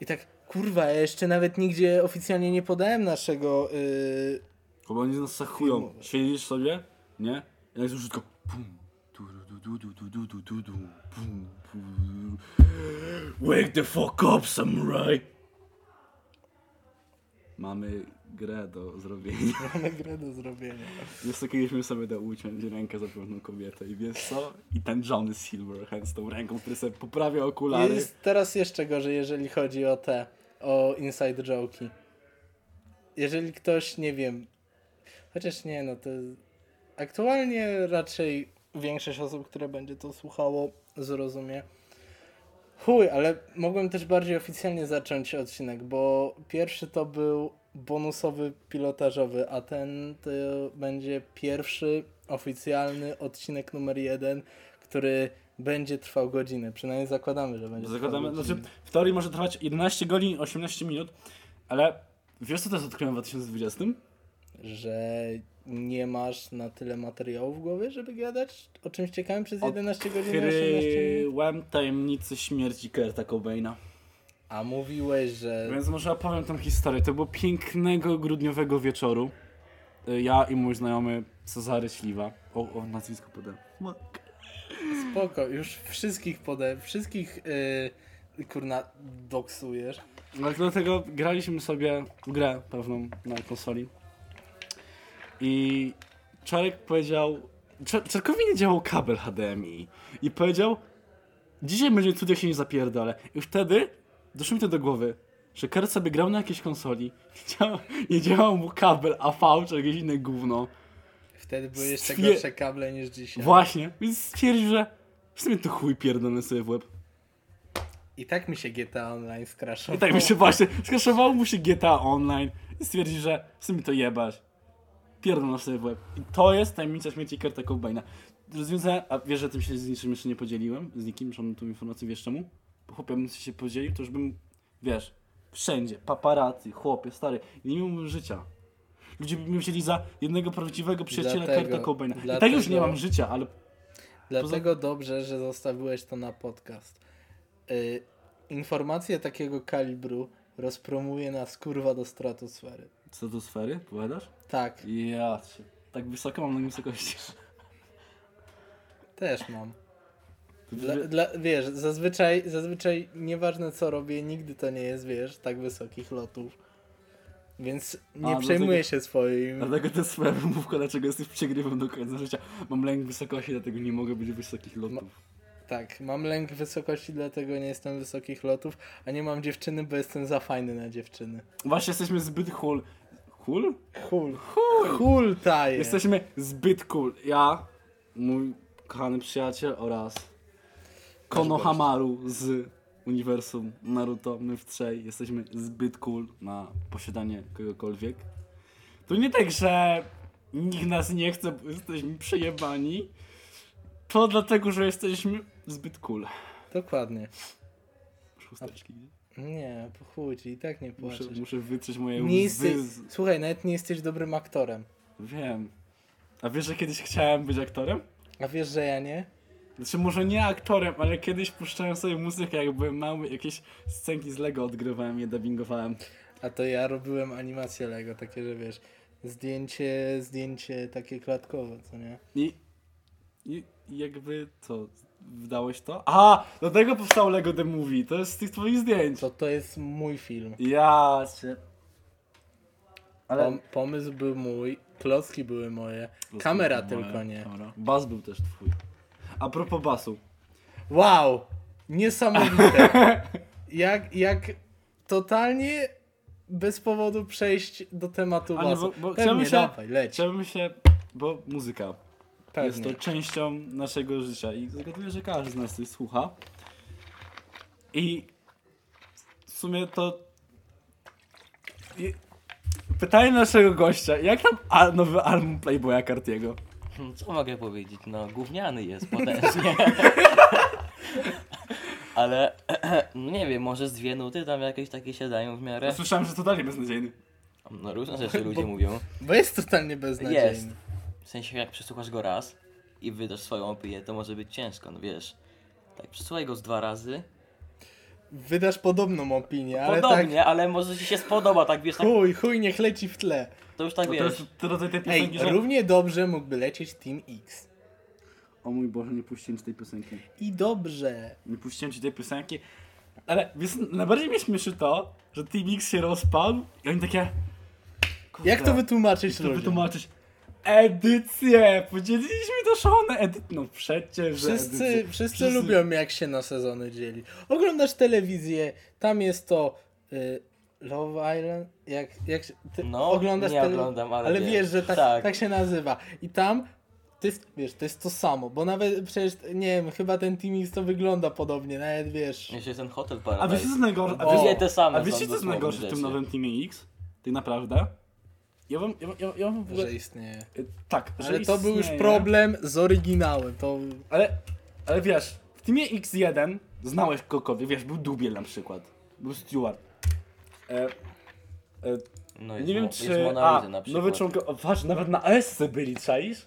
Speaker 1: I tak, kurwa, ja jeszcze nawet nigdzie oficjalnie nie podałem naszego... Yy,
Speaker 2: Bo oni nas sachują.
Speaker 1: Filmowe.
Speaker 2: Siedzisz sobie, nie? I tak już tylko pum. du, du, du, du, du, du, du, du, du, pum, pum. Wake the fuck up, samurai! Mamy grę do zrobienia.
Speaker 1: mamy grę do zrobienia.
Speaker 2: Wiesz co, kiedyś mi sobie da uciąć rękę za pewną kobietę i wiesz co? I ten Johnny Silverhand z tą ręką, który sobie poprawia okulary.
Speaker 1: Jest teraz jeszcze gorzej, jeżeli chodzi o te, o inside joke'i. Jeżeli ktoś, nie wiem, chociaż nie, no to aktualnie raczej większość osób, które będzie to słuchało, zrozumie. Chuj, ale mogłem też bardziej oficjalnie zacząć odcinek, bo pierwszy to był bonusowy pilotażowy, a ten to będzie pierwszy oficjalny odcinek numer jeden, który będzie trwał godzinę. Przynajmniej zakładamy, że będzie
Speaker 2: Zakładamy,
Speaker 1: trwał
Speaker 2: znaczy
Speaker 1: godzinę.
Speaker 2: w teorii może trwać 11 godzin, 18 minut, ale wiesz co też odkryłem w 2020?
Speaker 1: Że nie masz na tyle materiału w głowie, żeby gadać o czymś ciekawym przez 11 godzin na 18 minut?
Speaker 2: Odkryłem tajemnicę śmierci Kurta Cobaina.
Speaker 1: A mówiłeś, że...
Speaker 2: Więc może opowiem tą historię. To było pięknego grudniowego wieczoru. Y, Ja i mój znajomy Cezary Śliwa. O, o nazwisko podałem.
Speaker 1: Spoko, już wszystkich podaj, wszystkich yy, kurna doksujesz.
Speaker 2: No, dlatego graliśmy sobie w grę pewną na konsoli. I Czarek powiedział. Cza- Czarkowi nie działał kabel HDMI. I powiedział: Dzisiaj będzie cud, jak się nie zapierdolę. I wtedy doszło mi to do głowy, że Kurt sobie grał na jakiejś konsoli. Nie działał, nie działał mu kabel AV czy jakieś inne gówno.
Speaker 1: Wtedy były jeszcze
Speaker 2: Stwie-
Speaker 1: gorsze kable niż dzisiaj.
Speaker 2: Właśnie. Więc stwierdził, że w sumie to chuj pierdolę sobie w łeb.
Speaker 1: I tak mi się GTA Online skraszało.
Speaker 2: I tak mi się właśnie, skraszowało mu się GTA Online i stwierdzi, że w sumie to jebać. Pierdol na sobie w łeb. I to jest tajemnica śmierci Kurta Cobaina. Rozwiązałem, a wiesz, że tym się z niczym jeszcze nie podzieliłem, z nikim, że mam tą informację, wiesz czemu? Bo chłopie, bym się podzielił, to już bym, wiesz, wszędzie, paparazzi, chłopie, stary, nie miałbym życia. Ludzie by mnie wzięli za jednego prawdziwego przyjaciela
Speaker 1: Dlatego-
Speaker 2: Kurta Cobaina. I tak
Speaker 1: dlatego-
Speaker 2: już nie mam życia, ale
Speaker 1: Dlatego dobrze, że zostawiłeś to na podcast. Y, informacje takiego kalibru rozpromuje nas kurwa do stratosfery.
Speaker 2: stratosfery, powiadasz?
Speaker 1: Tak,
Speaker 2: Ja, cię- tak wysoko mam na wysokości.
Speaker 1: też mam.
Speaker 2: To
Speaker 1: Dla,
Speaker 2: ty-
Speaker 1: dla, wiesz, zazwyczaj, zazwyczaj nieważne co robię, nigdy to nie jest, wiesz, tak wysokich lotów. Więc nie
Speaker 2: A,
Speaker 1: przejmuję
Speaker 2: dlatego-
Speaker 1: się swoim.
Speaker 2: Dlatego to jest swoja wymówka, dlaczego jesteś przegrywem do końca życia. Mam lęk wysokości, dlatego nie mogę być wysokich lotów.
Speaker 1: Tak, mam lęk wysokości, dlatego nie jestem wysokich lotów, a nie mam dziewczyny, bo jestem za fajny na dziewczyny.
Speaker 2: Właśnie jesteśmy zbyt cool. Cool?
Speaker 1: Hul. Hul. Hul taje.
Speaker 2: Jesteśmy zbyt cool. Ja, mój kochany przyjaciel oraz Kono
Speaker 1: gość.
Speaker 2: Hamaru z uniwersum Naruto, my w trzej jesteśmy zbyt cool na posiadanie kogokolwiek. To nie tak, że nikt nas nie chce, bo jesteśmy przejebani. To dlatego, że jesteśmy zbyt cool.
Speaker 1: Dokładnie.
Speaker 2: Szósteczki, nie?
Speaker 1: Nie, po chuj ci, i tak nie
Speaker 2: Muszę,
Speaker 1: płaczesz.
Speaker 2: muszę wytrzeć moje łzy.
Speaker 1: Nie jesteś,
Speaker 2: z-
Speaker 1: słuchaj, nawet nie jesteś dobrym aktorem.
Speaker 2: Wiem. A wiesz, że kiedyś chciałem być aktorem?
Speaker 1: A wiesz, że ja nie?
Speaker 2: Znaczy może nie aktorem, ale kiedyś puszczałem sobie muzykę, jak byłem mały, jakieś scenki z Lego odgrywałem, je dubbingowałem.
Speaker 1: A to ja robiłem animacje Lego, takie, że wiesz, zdjęcie, zdjęcie takie klatkowe, co nie?
Speaker 2: I, i i jakby co, wdałeś to? A, do tego powstał Lego The Movie, to jest z tych twoich zdjęć.
Speaker 1: To to jest mój film.
Speaker 2: Ja się...
Speaker 1: Pom- pomysł był mój, klocki były moje, tak. kamera tylko nie.
Speaker 2: Kamera. Bas był też twój. A propos basu.
Speaker 1: Wow! Niesamowite. jak, jak totalnie bez powodu przejść do tematu
Speaker 2: Ale
Speaker 1: basu.
Speaker 2: bo- bo
Speaker 1: Pewnie,
Speaker 2: chciałbym się-
Speaker 1: dawaj, leć.
Speaker 2: Chciałbym się... bo muzyka. Jest
Speaker 1: Pewnie.
Speaker 2: to częścią naszego życia i zgaduję, że każdy z nas coś słucha. I w sumie to. I... Pytanie naszego gościa, jak tam a, nowy album Playboya Cartiego?
Speaker 3: Hmm, Co mogę powiedzieć? No, gówniany jest potężnie. Ale no nie wiem, może z dwie nuty tam jakieś takie się dają w miarę.
Speaker 2: Słyszałem, że to dalej beznadziejny.
Speaker 3: No różne rzeczy ludzie mówią.
Speaker 1: Bo jest totalnie beznadziejny.
Speaker 3: Jest. W sensie jak przesłuchasz go raz i wydasz swoją opinię, to może być ciężko, no wiesz. Tak, przesłuchaj go z dwa razy.
Speaker 1: Wydasz podobną opinię, ale
Speaker 3: Podobnie,
Speaker 1: tak...
Speaker 3: ale, może ci się spodoba, tak wiesz, tak,
Speaker 1: Chuj, chuj, niech leci w tle.
Speaker 3: to już tak
Speaker 2: No to
Speaker 3: wiesz.
Speaker 2: jest to rodzaj tej
Speaker 1: Ej,
Speaker 2: piosenki, że...
Speaker 1: równie dobrze mógłby lecieć Team X.
Speaker 2: O mój Boże, nie puściłem ci tej piosenki.
Speaker 1: I dobrze.
Speaker 2: Nie puściłem ci tej piosenki. Ale wiesz, najbardziej mnie śmieszy to, że Team X się rozpadł i oni takie...
Speaker 1: Jak to
Speaker 2: Kurde.
Speaker 1: wytłumaczyć
Speaker 2: to
Speaker 1: ludziom?
Speaker 2: wytłumaczyć. Edycję! Podzieliliśmy to szalone edyt. No przecież. że
Speaker 1: Wszyscy,
Speaker 2: edycje.
Speaker 1: wszyscy lubią jak się na sezony dzieli. Oglądasz telewizję, tam jest to y, Love Island, jak, jak się- ty
Speaker 3: No,
Speaker 1: oglądasz
Speaker 3: nie
Speaker 1: tele-
Speaker 3: oglądam, ale
Speaker 1: ale
Speaker 3: wiem.
Speaker 1: wiesz, że tak, tak.
Speaker 3: Tak.
Speaker 1: się nazywa. I tam to jest, wiesz, to jest to samo, bo nawet przecież, nie wiem, chyba ten Team X to wygląda podobnie, nawet wiesz.
Speaker 3: Jeszcze ten hotel
Speaker 2: A wiecie co
Speaker 3: Paradise.
Speaker 2: jest najgorsze?
Speaker 1: O.
Speaker 2: A wiecie,
Speaker 1: Dwie
Speaker 3: te same
Speaker 2: a
Speaker 3: są
Speaker 2: wiecie co jest
Speaker 3: dosłownie
Speaker 2: najgorsze w tym
Speaker 3: rzeczy.
Speaker 2: nowym Teamie X? Tak naprawdę? Ja wam, ja, wam- ja, ja wam w ogóle...
Speaker 1: Że istnieje.
Speaker 2: y, Tak, że
Speaker 1: Ale to był już
Speaker 2: istnieje.
Speaker 1: problem z oryginałem. To
Speaker 2: Ale, ale wiesz, w Teamie X1 znałeś kogokolwiek, wiesz, był Dubiel na przykład, był Stewart. E, e,
Speaker 3: No,
Speaker 2: Nie wiem
Speaker 3: Mo-
Speaker 2: czy...
Speaker 3: Jest Mona
Speaker 2: a, no
Speaker 3: Lisa na przykład.
Speaker 2: nowy członko... O, patrz, nawet na Esce byli, czaisz?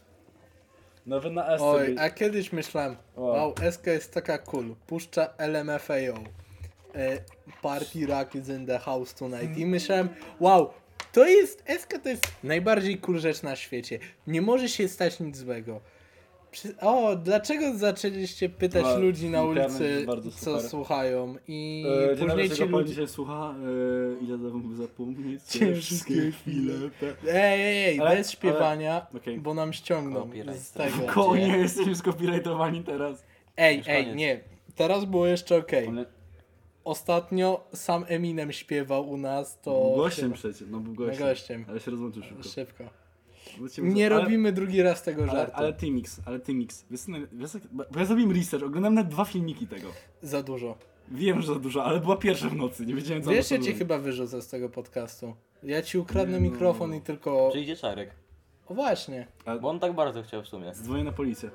Speaker 2: Nawet na Esce
Speaker 1: Oj,
Speaker 2: byli.
Speaker 1: a kiedyś myślałem,
Speaker 2: O.
Speaker 1: wow, SK jest taka cool, puszcza LMFAO, e, Party Rock is in the house tonight i myślałem, wow, to jest, SK to jest najbardziej cool rzecz na świecie, nie może się stać nic złego. Przy, o, dlaczego zaczęliście pytać
Speaker 2: No,
Speaker 1: ludzi na
Speaker 2: internet
Speaker 1: ulicy,
Speaker 2: jest bardzo
Speaker 1: co
Speaker 2: super.
Speaker 1: słuchają i
Speaker 2: E,
Speaker 1: później ci ludzie...
Speaker 2: dzisiaj słucha, e, ja dam zapomnieć
Speaker 1: Cię wszystkie Ej, ej, ej,
Speaker 2: Ale-
Speaker 1: bez śpiewania,
Speaker 2: ale- okej.
Speaker 1: bo nam ściągną
Speaker 3: Copyright.
Speaker 1: z tego.
Speaker 2: Konie, jesteśmy skopirajtowani teraz.
Speaker 1: Ej,
Speaker 3: Już
Speaker 1: ej,
Speaker 3: koniec.
Speaker 1: nie, teraz było jeszcze okej. Ostatnio sam Eminem śpiewał u nas, to.
Speaker 2: Gościem
Speaker 1: chyba-
Speaker 2: przecież, no był
Speaker 1: gościem.
Speaker 2: gościem.
Speaker 1: gościem.
Speaker 2: Ale się rozłączył szybko.
Speaker 1: Szybko. Nie robimy drugi raz tego
Speaker 2: ale, ale,
Speaker 1: żartu.
Speaker 2: ale Timix, ale Timix. Wiesz, co naj- wiesz, jak- bo bo ja zrobiłem research, oglądałem nawet dwa filmiki tego.
Speaker 1: Za dużo.
Speaker 2: Wiem, że za dużo, ale była pierwsza w nocy, nie wiedziałem co
Speaker 1: Wiesz, ja
Speaker 2: ona
Speaker 1: cię
Speaker 2: robi.
Speaker 1: chyba wyrzucę z tego podcastu. Ja ci ukradnę
Speaker 2: Nie no.
Speaker 1: mikrofon i tylko.
Speaker 3: Przyjdzie Czarek.
Speaker 1: O właśnie,
Speaker 2: Ale-
Speaker 3: Bo on tak bardzo chciał w sumie.
Speaker 2: Dzwonię na policję.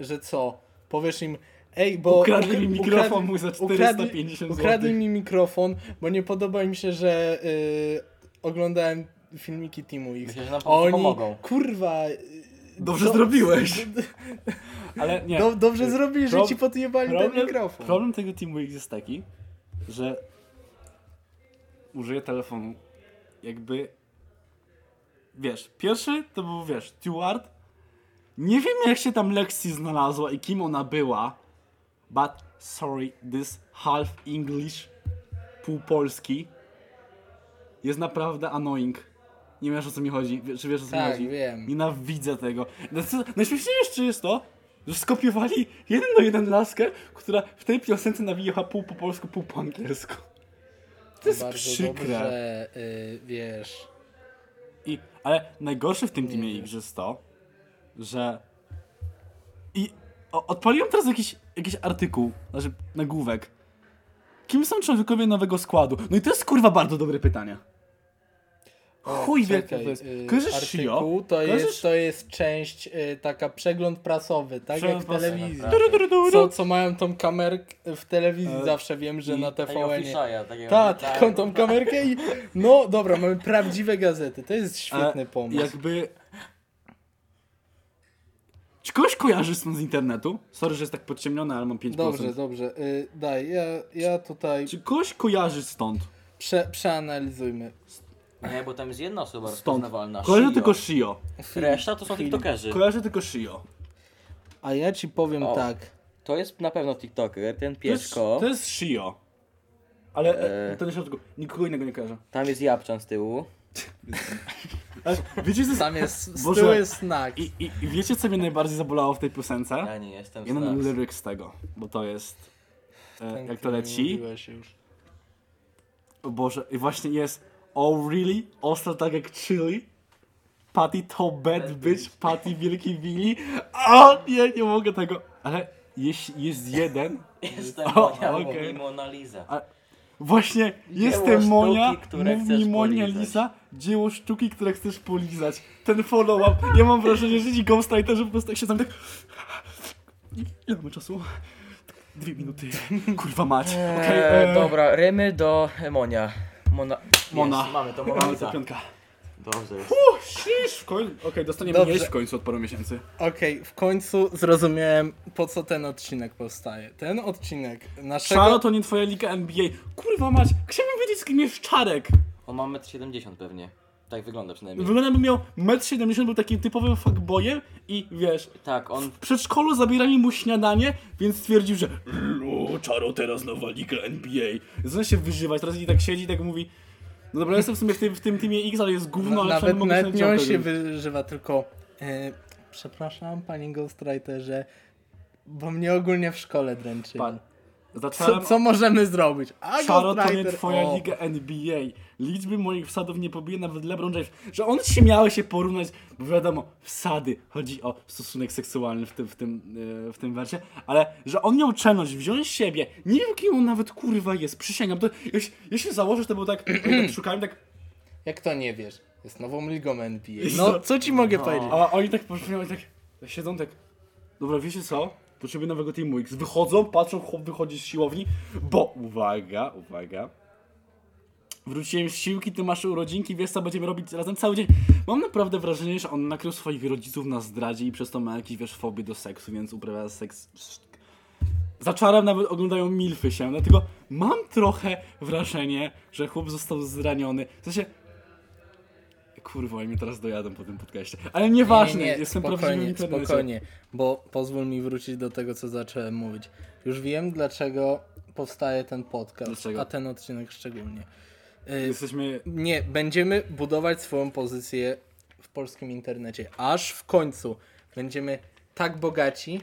Speaker 1: że co? Powiesz im. Ej, bo.
Speaker 2: Ukradli mi
Speaker 1: ukra-
Speaker 2: mikrofon
Speaker 1: ukradli-
Speaker 2: mój za
Speaker 1: ukradli-
Speaker 2: 450
Speaker 1: Ukradli
Speaker 2: złotych.
Speaker 1: mi mikrofon, bo nie podoba im się, że y, oglądałem filmiki Teamu X.
Speaker 3: Myślę, że nam po prostu
Speaker 1: Oni,
Speaker 3: pomogą.
Speaker 1: kurwa, y,
Speaker 2: Dobrze
Speaker 1: do-
Speaker 2: zrobiłeś. Ale nie.
Speaker 1: Do, dobrze zrobili, że
Speaker 2: Pro-
Speaker 1: ci podjebali ten mikrofon.
Speaker 2: Problem tego Team Week jest taki, że użyję telefonu jakby... Wiesz, pierwszy to był, wiesz, Stewart. Nie wiem, jak się tam Lexi znalazła i kim ona była, but sorry, this half English, pół polski jest naprawdę annoying. Nie wiesz, o co mi chodzi. Wie- Czy wiesz, o co mi
Speaker 1: Tak,
Speaker 2: chodzi?
Speaker 1: wiem.
Speaker 2: Nienawidzę tego. No co- Najśmieszniejsze jest to, że skopiowali jeden do jeden laskę, która w tej piosence nawija pół po polsku, pół po angielsku. To jest
Speaker 1: Bardzo
Speaker 2: przykre.
Speaker 1: dobrze, y, wiesz.
Speaker 2: I, ale najgorsze w tym teamie X jest to, że... I o, odpaliłem teraz jakiś, jakiś artykuł, znaczy nagłówek. Kim są członkowie nowego składu? No i to jest kurwa bardzo dobre pytanie. Chuj wie, kto
Speaker 1: Czekaj,
Speaker 2: to jest.
Speaker 1: y,
Speaker 2: Kojarzysz
Speaker 1: artykuł
Speaker 2: Shio?
Speaker 1: to jest,
Speaker 2: Kojarzysz-
Speaker 1: to jest część y, taka przegląd prasowy, tak
Speaker 2: Przegląd
Speaker 1: jak w
Speaker 2: prasowy,
Speaker 1: telewizji.
Speaker 3: tak.
Speaker 2: Du, du, du, du,
Speaker 1: Co,
Speaker 2: du.
Speaker 1: co mają tą kamerkę w telewizji,
Speaker 2: E,
Speaker 1: zawsze wiem, że
Speaker 2: i-
Speaker 1: na
Speaker 3: Takiego
Speaker 1: TVN.
Speaker 3: Fishaya, takiego-
Speaker 1: Tak, taką tą kamerkę i no dobra, mamy prawdziwe gazety. To jest
Speaker 2: E,
Speaker 1: świetny pomysł.
Speaker 2: Jakby... Czy kogoś kojarzysz stąd z internetu? Sorry, że jest tak podciemnione, ale mam 5%.
Speaker 1: Dobrze, dobrze. Y, daj, ja, ja tutaj
Speaker 2: Czy kogoś kojarzysz stąd?
Speaker 1: prze, przeanalizujmy.
Speaker 3: Nie, bo tam jest jedna osoba
Speaker 2: Stąd.
Speaker 3: rozpoznawalna.
Speaker 2: Kojarzę
Speaker 3: Shio.
Speaker 2: tylko Shio.
Speaker 3: Reszta to są tiktokerzy.
Speaker 2: Kojarzę tylko Shio.
Speaker 1: A ja ci powiem
Speaker 3: O.
Speaker 1: tak.
Speaker 3: To jest na pewno tiktoker, ten
Speaker 2: To jest,
Speaker 3: piesko.
Speaker 2: to jest Shio. Ale e,
Speaker 3: E.
Speaker 2: to na środku. Nikogo innego nie kojarzę.
Speaker 3: Tam jest Japczan z tyłu.
Speaker 2: Ale wiecie, co...
Speaker 1: Tam jest, z
Speaker 2: Boże.
Speaker 1: tyłu jest znak.
Speaker 2: I, i, I wiecie, co mnie najbardziej zabolało w tej piosence?
Speaker 3: Ja nie jestem
Speaker 2: Jeden
Speaker 3: znany.
Speaker 2: lyryk z tego, bo to jest. E,
Speaker 1: Ten,
Speaker 2: jak to
Speaker 1: który
Speaker 2: leci?
Speaker 1: mówiłeś już.
Speaker 2: O Boże, i właśnie jest. Oh really? Ostro tak jak chili? Patty to bad bitch, Patty wielki Willy. O, nie, nie mogę tego. Ale jeśli jest jeden.
Speaker 3: Jestem
Speaker 2: O,
Speaker 3: Monia,
Speaker 2: okej.
Speaker 3: mówi Mona Lisa.
Speaker 2: A- Właśnie, jestem
Speaker 3: sztuki,
Speaker 2: Monia,
Speaker 3: które
Speaker 2: mów
Speaker 3: chcesz
Speaker 2: mi Monia
Speaker 3: polizać.
Speaker 2: Lisa, dzieło sztuki, które chcesz polizać. Ten follow-up, ja mam wrażenie, że ci ghostwriterzy po prostu jak się tam tak... Ile mamy czasu? Dwie minuty. Kurwa mać. Okej,
Speaker 3: Eee,
Speaker 2: e,
Speaker 3: dobra, rymy do Monia. Mona.
Speaker 2: Mona.
Speaker 3: Jest, mamy to Mona
Speaker 2: Mamy to
Speaker 3: Lisa.
Speaker 2: piątka.
Speaker 3: Dobrze jest.
Speaker 2: O, shish, w końcu. Okej, dostaniemy
Speaker 1: Dobrze.
Speaker 2: jeść w końcu od paru miesięcy.
Speaker 1: Okej, w końcu zrozumiałem, po co ten odcinek powstaje. Ten odcinek naszego...
Speaker 2: Czaro to nie twoja liga NBA. Kurwa mać, chciałbym wiedzieć z kim jest Czarek.
Speaker 3: On ma 1,70 m pewnie. Tak wygląda przynajmniej.
Speaker 2: Wygląda jakby miał 1,70 m, był takim typowym fuckboyem i wiesz,
Speaker 3: Tak, on
Speaker 2: W przedszkolu zabierali mu śniadanie, więc stwierdził, że "Lu, Czaro teraz nowa liga NBA. Zaczyna się wyżywać, teraz i tak siedzi i tak mówi no dobra, jestem w sumie w tym, w tym teamie X, ale jest
Speaker 1: Na-
Speaker 2: gówno, ale
Speaker 1: nawet
Speaker 2: przynajmniej mogę
Speaker 1: nawet nie on
Speaker 2: znaleźć
Speaker 1: się
Speaker 2: kogoś.
Speaker 1: wyżywa, tylko... e, przepraszam, panie ghostwriterze, bo mnie ogólnie w szkole dręczy.
Speaker 2: Pan.
Speaker 1: Co,
Speaker 2: Zacząłem...
Speaker 1: co możemy zrobić? A
Speaker 2: Czaro to nie
Speaker 1: ghostwriter,
Speaker 2: twoja
Speaker 1: o.
Speaker 2: liga NBA. Liczby moich wsadów nie pobije nawet LeBron James. Że on się miały się porównać, bo wiadomo, wsady, chodzi o stosunek seksualny w tym, w tym, yy, w tym wersie, ale że on miał czelność wziąć siebie. Nie wiem, kim on nawet kurwa jest, przysięgam. To, jeśli, jeśli założę, że to było tak, tak szukałem tak,
Speaker 1: Jak to nie wiesz? Jest nową ligą NBA.
Speaker 2: Jest
Speaker 1: No,
Speaker 2: to-
Speaker 1: co ci mogę powiedzieć?
Speaker 2: a oni tak poszli, tak siedzą tak, dobra, wiecie co? Potrzebuję nowego Teamu X. Wychodzą, patrzą, chłop wychodzi z siłowni, bo uwaga, uwaga, Wróciłem z siłki, ty masz urodzinki, wiesz co będziemy robić razem cały dzień. Mam naprawdę wrażenie, że on nakrył swoich rodziców na zdradzie i przez to ma jakieś, wiesz, fobię do seksu, więc uprawia seks... Za czarem nawet oglądają milfy się, dlatego mam trochę wrażenie, że chłop został zraniony. W sensie... Kurwa, oni mnie teraz dojadą po tym podcaście. Ale nieważne,
Speaker 1: Nie, nie, nie,
Speaker 2: jestem prawdziwym
Speaker 1: spokojnie,
Speaker 2: internecie.
Speaker 1: spokojnie, bo pozwól mi wrócić do tego, co zacząłem mówić. Już wiem, dlaczego powstaje ten podcast,
Speaker 2: Dlaczego?
Speaker 1: a ten odcinek szczególnie. Y,
Speaker 2: Jesteśmy...
Speaker 1: nie, będziemy budować swoją pozycję w polskim internecie, aż w końcu będziemy tak bogaci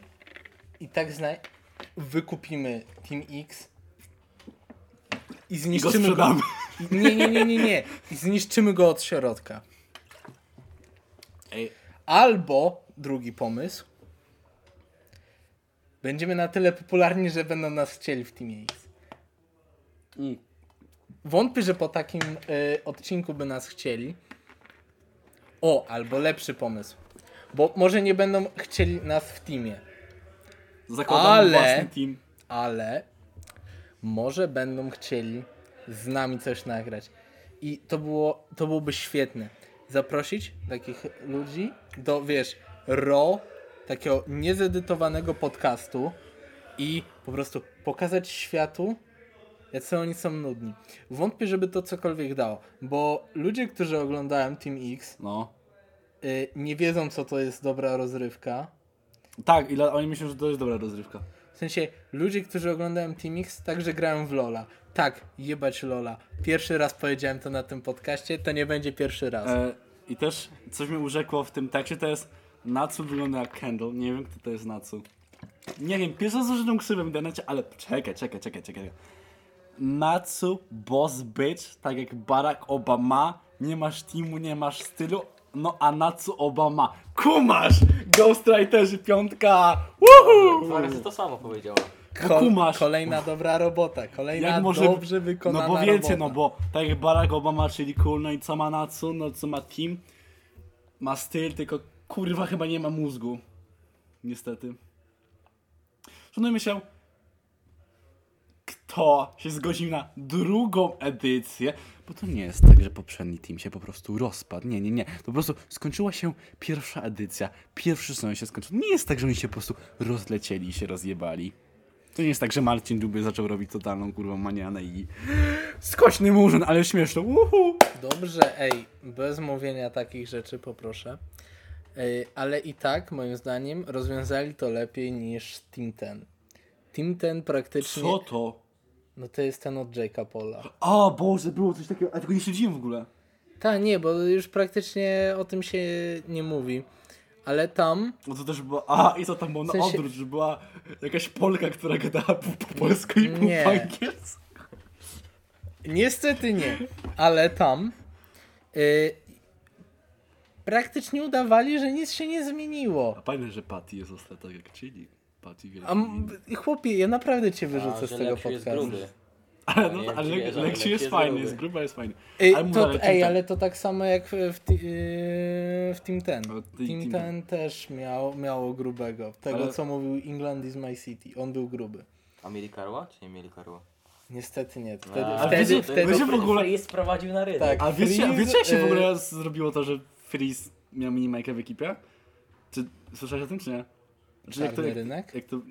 Speaker 1: i tak zna... wykupimy Team X i
Speaker 2: I go
Speaker 1: zniszczymy
Speaker 2: sprzedamy.
Speaker 1: I- Nie, nie, nie, nie, nie. I zniszczymy go od środka.
Speaker 2: Ej,
Speaker 1: Albo drugi pomysł. Będziemy na tyle popularni, że będą nas chcieli w Teamie X.
Speaker 2: Mm.
Speaker 1: Wątpię, że po takim y, odcinku by nas chcieli. O, albo lepszy pomysł. Bo może nie będą chcieli nas w teamie,
Speaker 2: zakładamy
Speaker 1: Ale-
Speaker 2: własny team.
Speaker 1: ale może będą chcieli z nami coś nagrać. I to, było, to byłoby świetne. Zaprosić takich ludzi do, wiesz, ro, takiego niezedytowanego podcastu i po prostu pokazać światu, Jacy oni są nudni. Wątpię, żeby to cokolwiek dało, bo ludzie, którzy oglądają Team X,
Speaker 2: No.
Speaker 1: y, nie wiedzą, co to jest dobra rozrywka.
Speaker 2: Tak, i dla- oni myślą, że to jest dobra rozrywka.
Speaker 1: W sensie, ludzie, którzy oglądają Team X, także grają w Lola. Tak, jebać Lola. Pierwszy raz powiedziałem to na tym podcaście, to nie będzie pierwszy raz.
Speaker 2: E, I też coś mi urzekło w tym tekście, to jest Natsu wygląda jak Kendall. Nie wiem, kto to jest Natsu. Nie wiem, pierwsza z użytą ksywem w internecie, ale czekaj, czekaj, czekaj, czekaj. Natsu boss bitch, tak jak Barack Obama. Nie masz teamu, nie masz stylu. No a Natsu Obama. Kumasz! Ghostwriterzy piątka! Woohoo!
Speaker 3: Dwa razy to samo powiedziała.
Speaker 2: no kumasz.
Speaker 1: Kolejna dobra robota, kolejna
Speaker 2: Jak może...
Speaker 1: dobrze wykonana
Speaker 2: No bo wiecie,
Speaker 1: robota.
Speaker 2: no bo tak jak Barack Obama, czyli cool, no i co ma Natsu, no co ma team, ma styl, tylko kurwa chyba nie ma mózgu. Niestety. Szanujmy się. Kto się zgodził na drugą edycję? Bo to nie jest tak, że poprzedni team się po prostu rozpadł. Nie, nie, nie. To po prostu skończyła się pierwsza edycja. Pierwszy sezon się skończył. Nie jest tak, że oni się po prostu rozlecieli i się rozjebali. To nie jest tak, że Marcin Duby zaczął robić totalną kurwą manianę i skośny murzyn, ale śmieszno. Uhu.
Speaker 1: Dobrze, ej, bez mówienia takich rzeczy poproszę. Ej, ale i tak, moim zdaniem, rozwiązali to lepiej niż Team Ten. Team Ten praktycznie.
Speaker 2: Co to?
Speaker 1: No to jest ten od Jake'a Paula.
Speaker 2: O Boże, było coś takiego, a tego nie śledziłem w ogóle.
Speaker 1: Ta, nie, bo już praktycznie o tym się nie mówi. Ale tam
Speaker 2: No to też była, a i co tam było na
Speaker 1: W sensie-
Speaker 2: odwrót, że była jakaś Polka, która gadała po, po polsku i
Speaker 1: Nie.
Speaker 2: po angielsku.
Speaker 1: Niestety nie, ale tam y, praktycznie udawali, że nic się nie zmieniło.
Speaker 2: A fajne, że Patty jest ostatnia tak jak chili. Patty
Speaker 1: A m- chłopie, ja naprawdę cię wyrzucę z
Speaker 3: że
Speaker 1: tego
Speaker 3: lepszy jest
Speaker 1: podcastu.
Speaker 3: gruby.
Speaker 2: Ale, no,
Speaker 3: nie wiem,
Speaker 2: ale
Speaker 3: czy wiesz,
Speaker 2: Lexi
Speaker 3: ale
Speaker 2: jest,
Speaker 3: Lexi jest
Speaker 2: fajny,
Speaker 3: gruby.
Speaker 2: jest gruba, jest fajny.
Speaker 1: Y,
Speaker 2: Ale mówię,
Speaker 1: to,
Speaker 2: ale
Speaker 1: ej,
Speaker 2: Team
Speaker 1: ale to tak samo jak w, w, ti- y, w Team Ten.
Speaker 2: No, ty-
Speaker 1: Team
Speaker 2: Team
Speaker 1: Ten też miał, miało grubego. Tego,
Speaker 2: Ale-
Speaker 1: co mówił England is my city. On był gruby.
Speaker 3: A mieli karła, czy nie mieli karła?
Speaker 1: Niestety nie. Wtedy,
Speaker 2: Ale
Speaker 1: wtedy,
Speaker 2: wiecie-
Speaker 1: wtedy,
Speaker 2: wiecie- w ogóle-
Speaker 3: Freeze sprowadził na rynek.
Speaker 1: Tak.
Speaker 2: A wiecie,
Speaker 1: Freeze,
Speaker 2: wiecie jak się w
Speaker 1: y-
Speaker 2: ogóle zrobiło to, że Freeze miał minimajkę w ekipie? Czy słyszałeś o tym, czy nie? Czy jak to,
Speaker 1: Czarny Tak,
Speaker 2: jak,
Speaker 1: rynek?
Speaker 2: Jak to...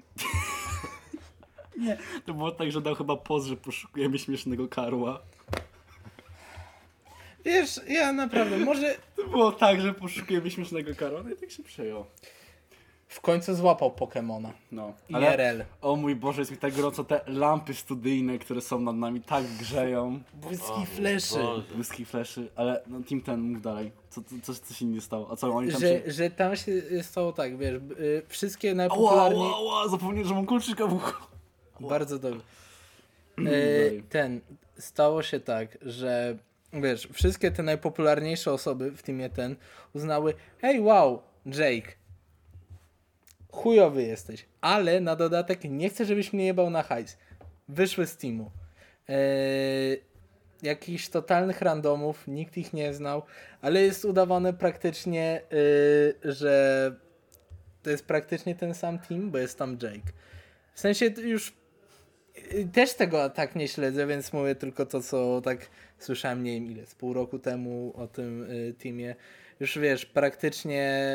Speaker 2: nie, to było tak, że dał chyba poz, że poszukujemy śmiesznego karła.
Speaker 1: y, Wiesz, ja naprawdę, może
Speaker 2: To było tak, że poszukujemy śmiesznego karła, no i tak się przejął.
Speaker 1: w końcu złapał Pokemona.
Speaker 2: No, ale...
Speaker 1: IRL.
Speaker 2: O mój Boże, jest mi tak gorąco, te lampy studyjne, które są nad nami, tak grzeją.
Speaker 3: O mój
Speaker 1: Błyski fleszy.
Speaker 3: Boże.
Speaker 2: Błyski fleszy, ale no, Team Ten, mów dalej. Co, co, coś, coś się nie stało? A co, oni tam się...
Speaker 1: że, że tam się stało tak, wiesz, b- y, wszystkie
Speaker 2: Ła,
Speaker 1: najpopularniej...
Speaker 2: ła, ła, zapomniałem, że mam kulczyka w uchu.
Speaker 1: Bardzo dobrze.
Speaker 2: Dalej.
Speaker 1: Y, ten, stało się tak, że wiesz, wszystkie te najpopularniejsze osoby, w tym ja ten, uznały, hej wow, Jake, chujowy jesteś, ale na dodatek nie chcę, żebyś mnie jebał na hajs. Wyszły z teamu. Yy, jakichś totalnych randomów, nikt ich nie znał, ale jest udawane praktycznie, yy, że to jest praktycznie ten sam team, bo jest tam Jake. W sensie t- już yy, też tego tak nie śledzę, więc mówię tylko to, co tak słyszałem, nie wiem ile, z pół roku temu o tym yy, teamie. Już wiesz, praktycznie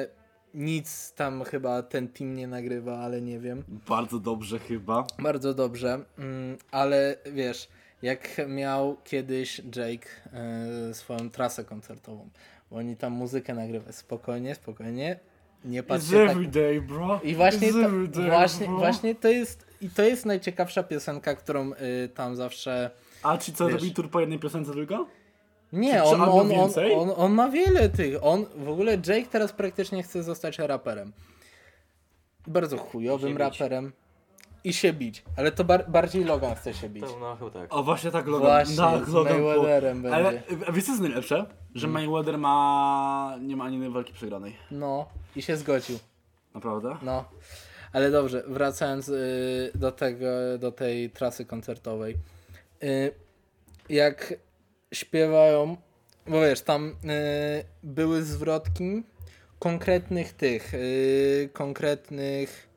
Speaker 1: nic tam chyba ten team nie nagrywa, ale nie wiem.
Speaker 2: Bardzo dobrze chyba.
Speaker 1: Bardzo dobrze, mm, ale wiesz, jak miał kiedyś Jake e, swoją trasę koncertową, bo oni tam muzykę nagrywają. Spokojnie, spokojnie, nie patrzcie tak.
Speaker 2: day, bro.
Speaker 1: I właśnie to, właśnie,
Speaker 2: no.
Speaker 1: właśnie to jest i to jest najciekawsza piosenka, którą y, tam zawsze
Speaker 2: A czy co
Speaker 1: Wiesz.
Speaker 2: robi tur po jednej piosence tylko? Czy-
Speaker 1: nie,
Speaker 2: czy
Speaker 1: on,
Speaker 2: albo
Speaker 1: on, on,
Speaker 2: więcej?
Speaker 1: on, on ma wiele tych. On w ogóle Jake teraz praktycznie chce zostać raperem. Bardzo
Speaker 3: I
Speaker 1: chujowym
Speaker 3: się bić.
Speaker 1: raperem i się bić, ale to bar bardziej Logan chce się bić.
Speaker 3: To, no chyba tak.
Speaker 2: O właśnie tak Logan.
Speaker 1: Właśnie,
Speaker 2: tak,
Speaker 1: z
Speaker 2: Logan było.
Speaker 1: Mayweatherem będzie. Mm.
Speaker 2: Ale a wiesz co jest najlepsze? Że Mayweather ma... nie ma ani jednej walki przegranej.
Speaker 1: No, i się zgodził.
Speaker 2: Naprawdę?
Speaker 1: No. Ale dobrze, wracając y, do tego, do tej trasy koncertowej. Y, jak śpiewają, bo wiesz, tam y, były zwrotki konkretnych tych, y, konkretnych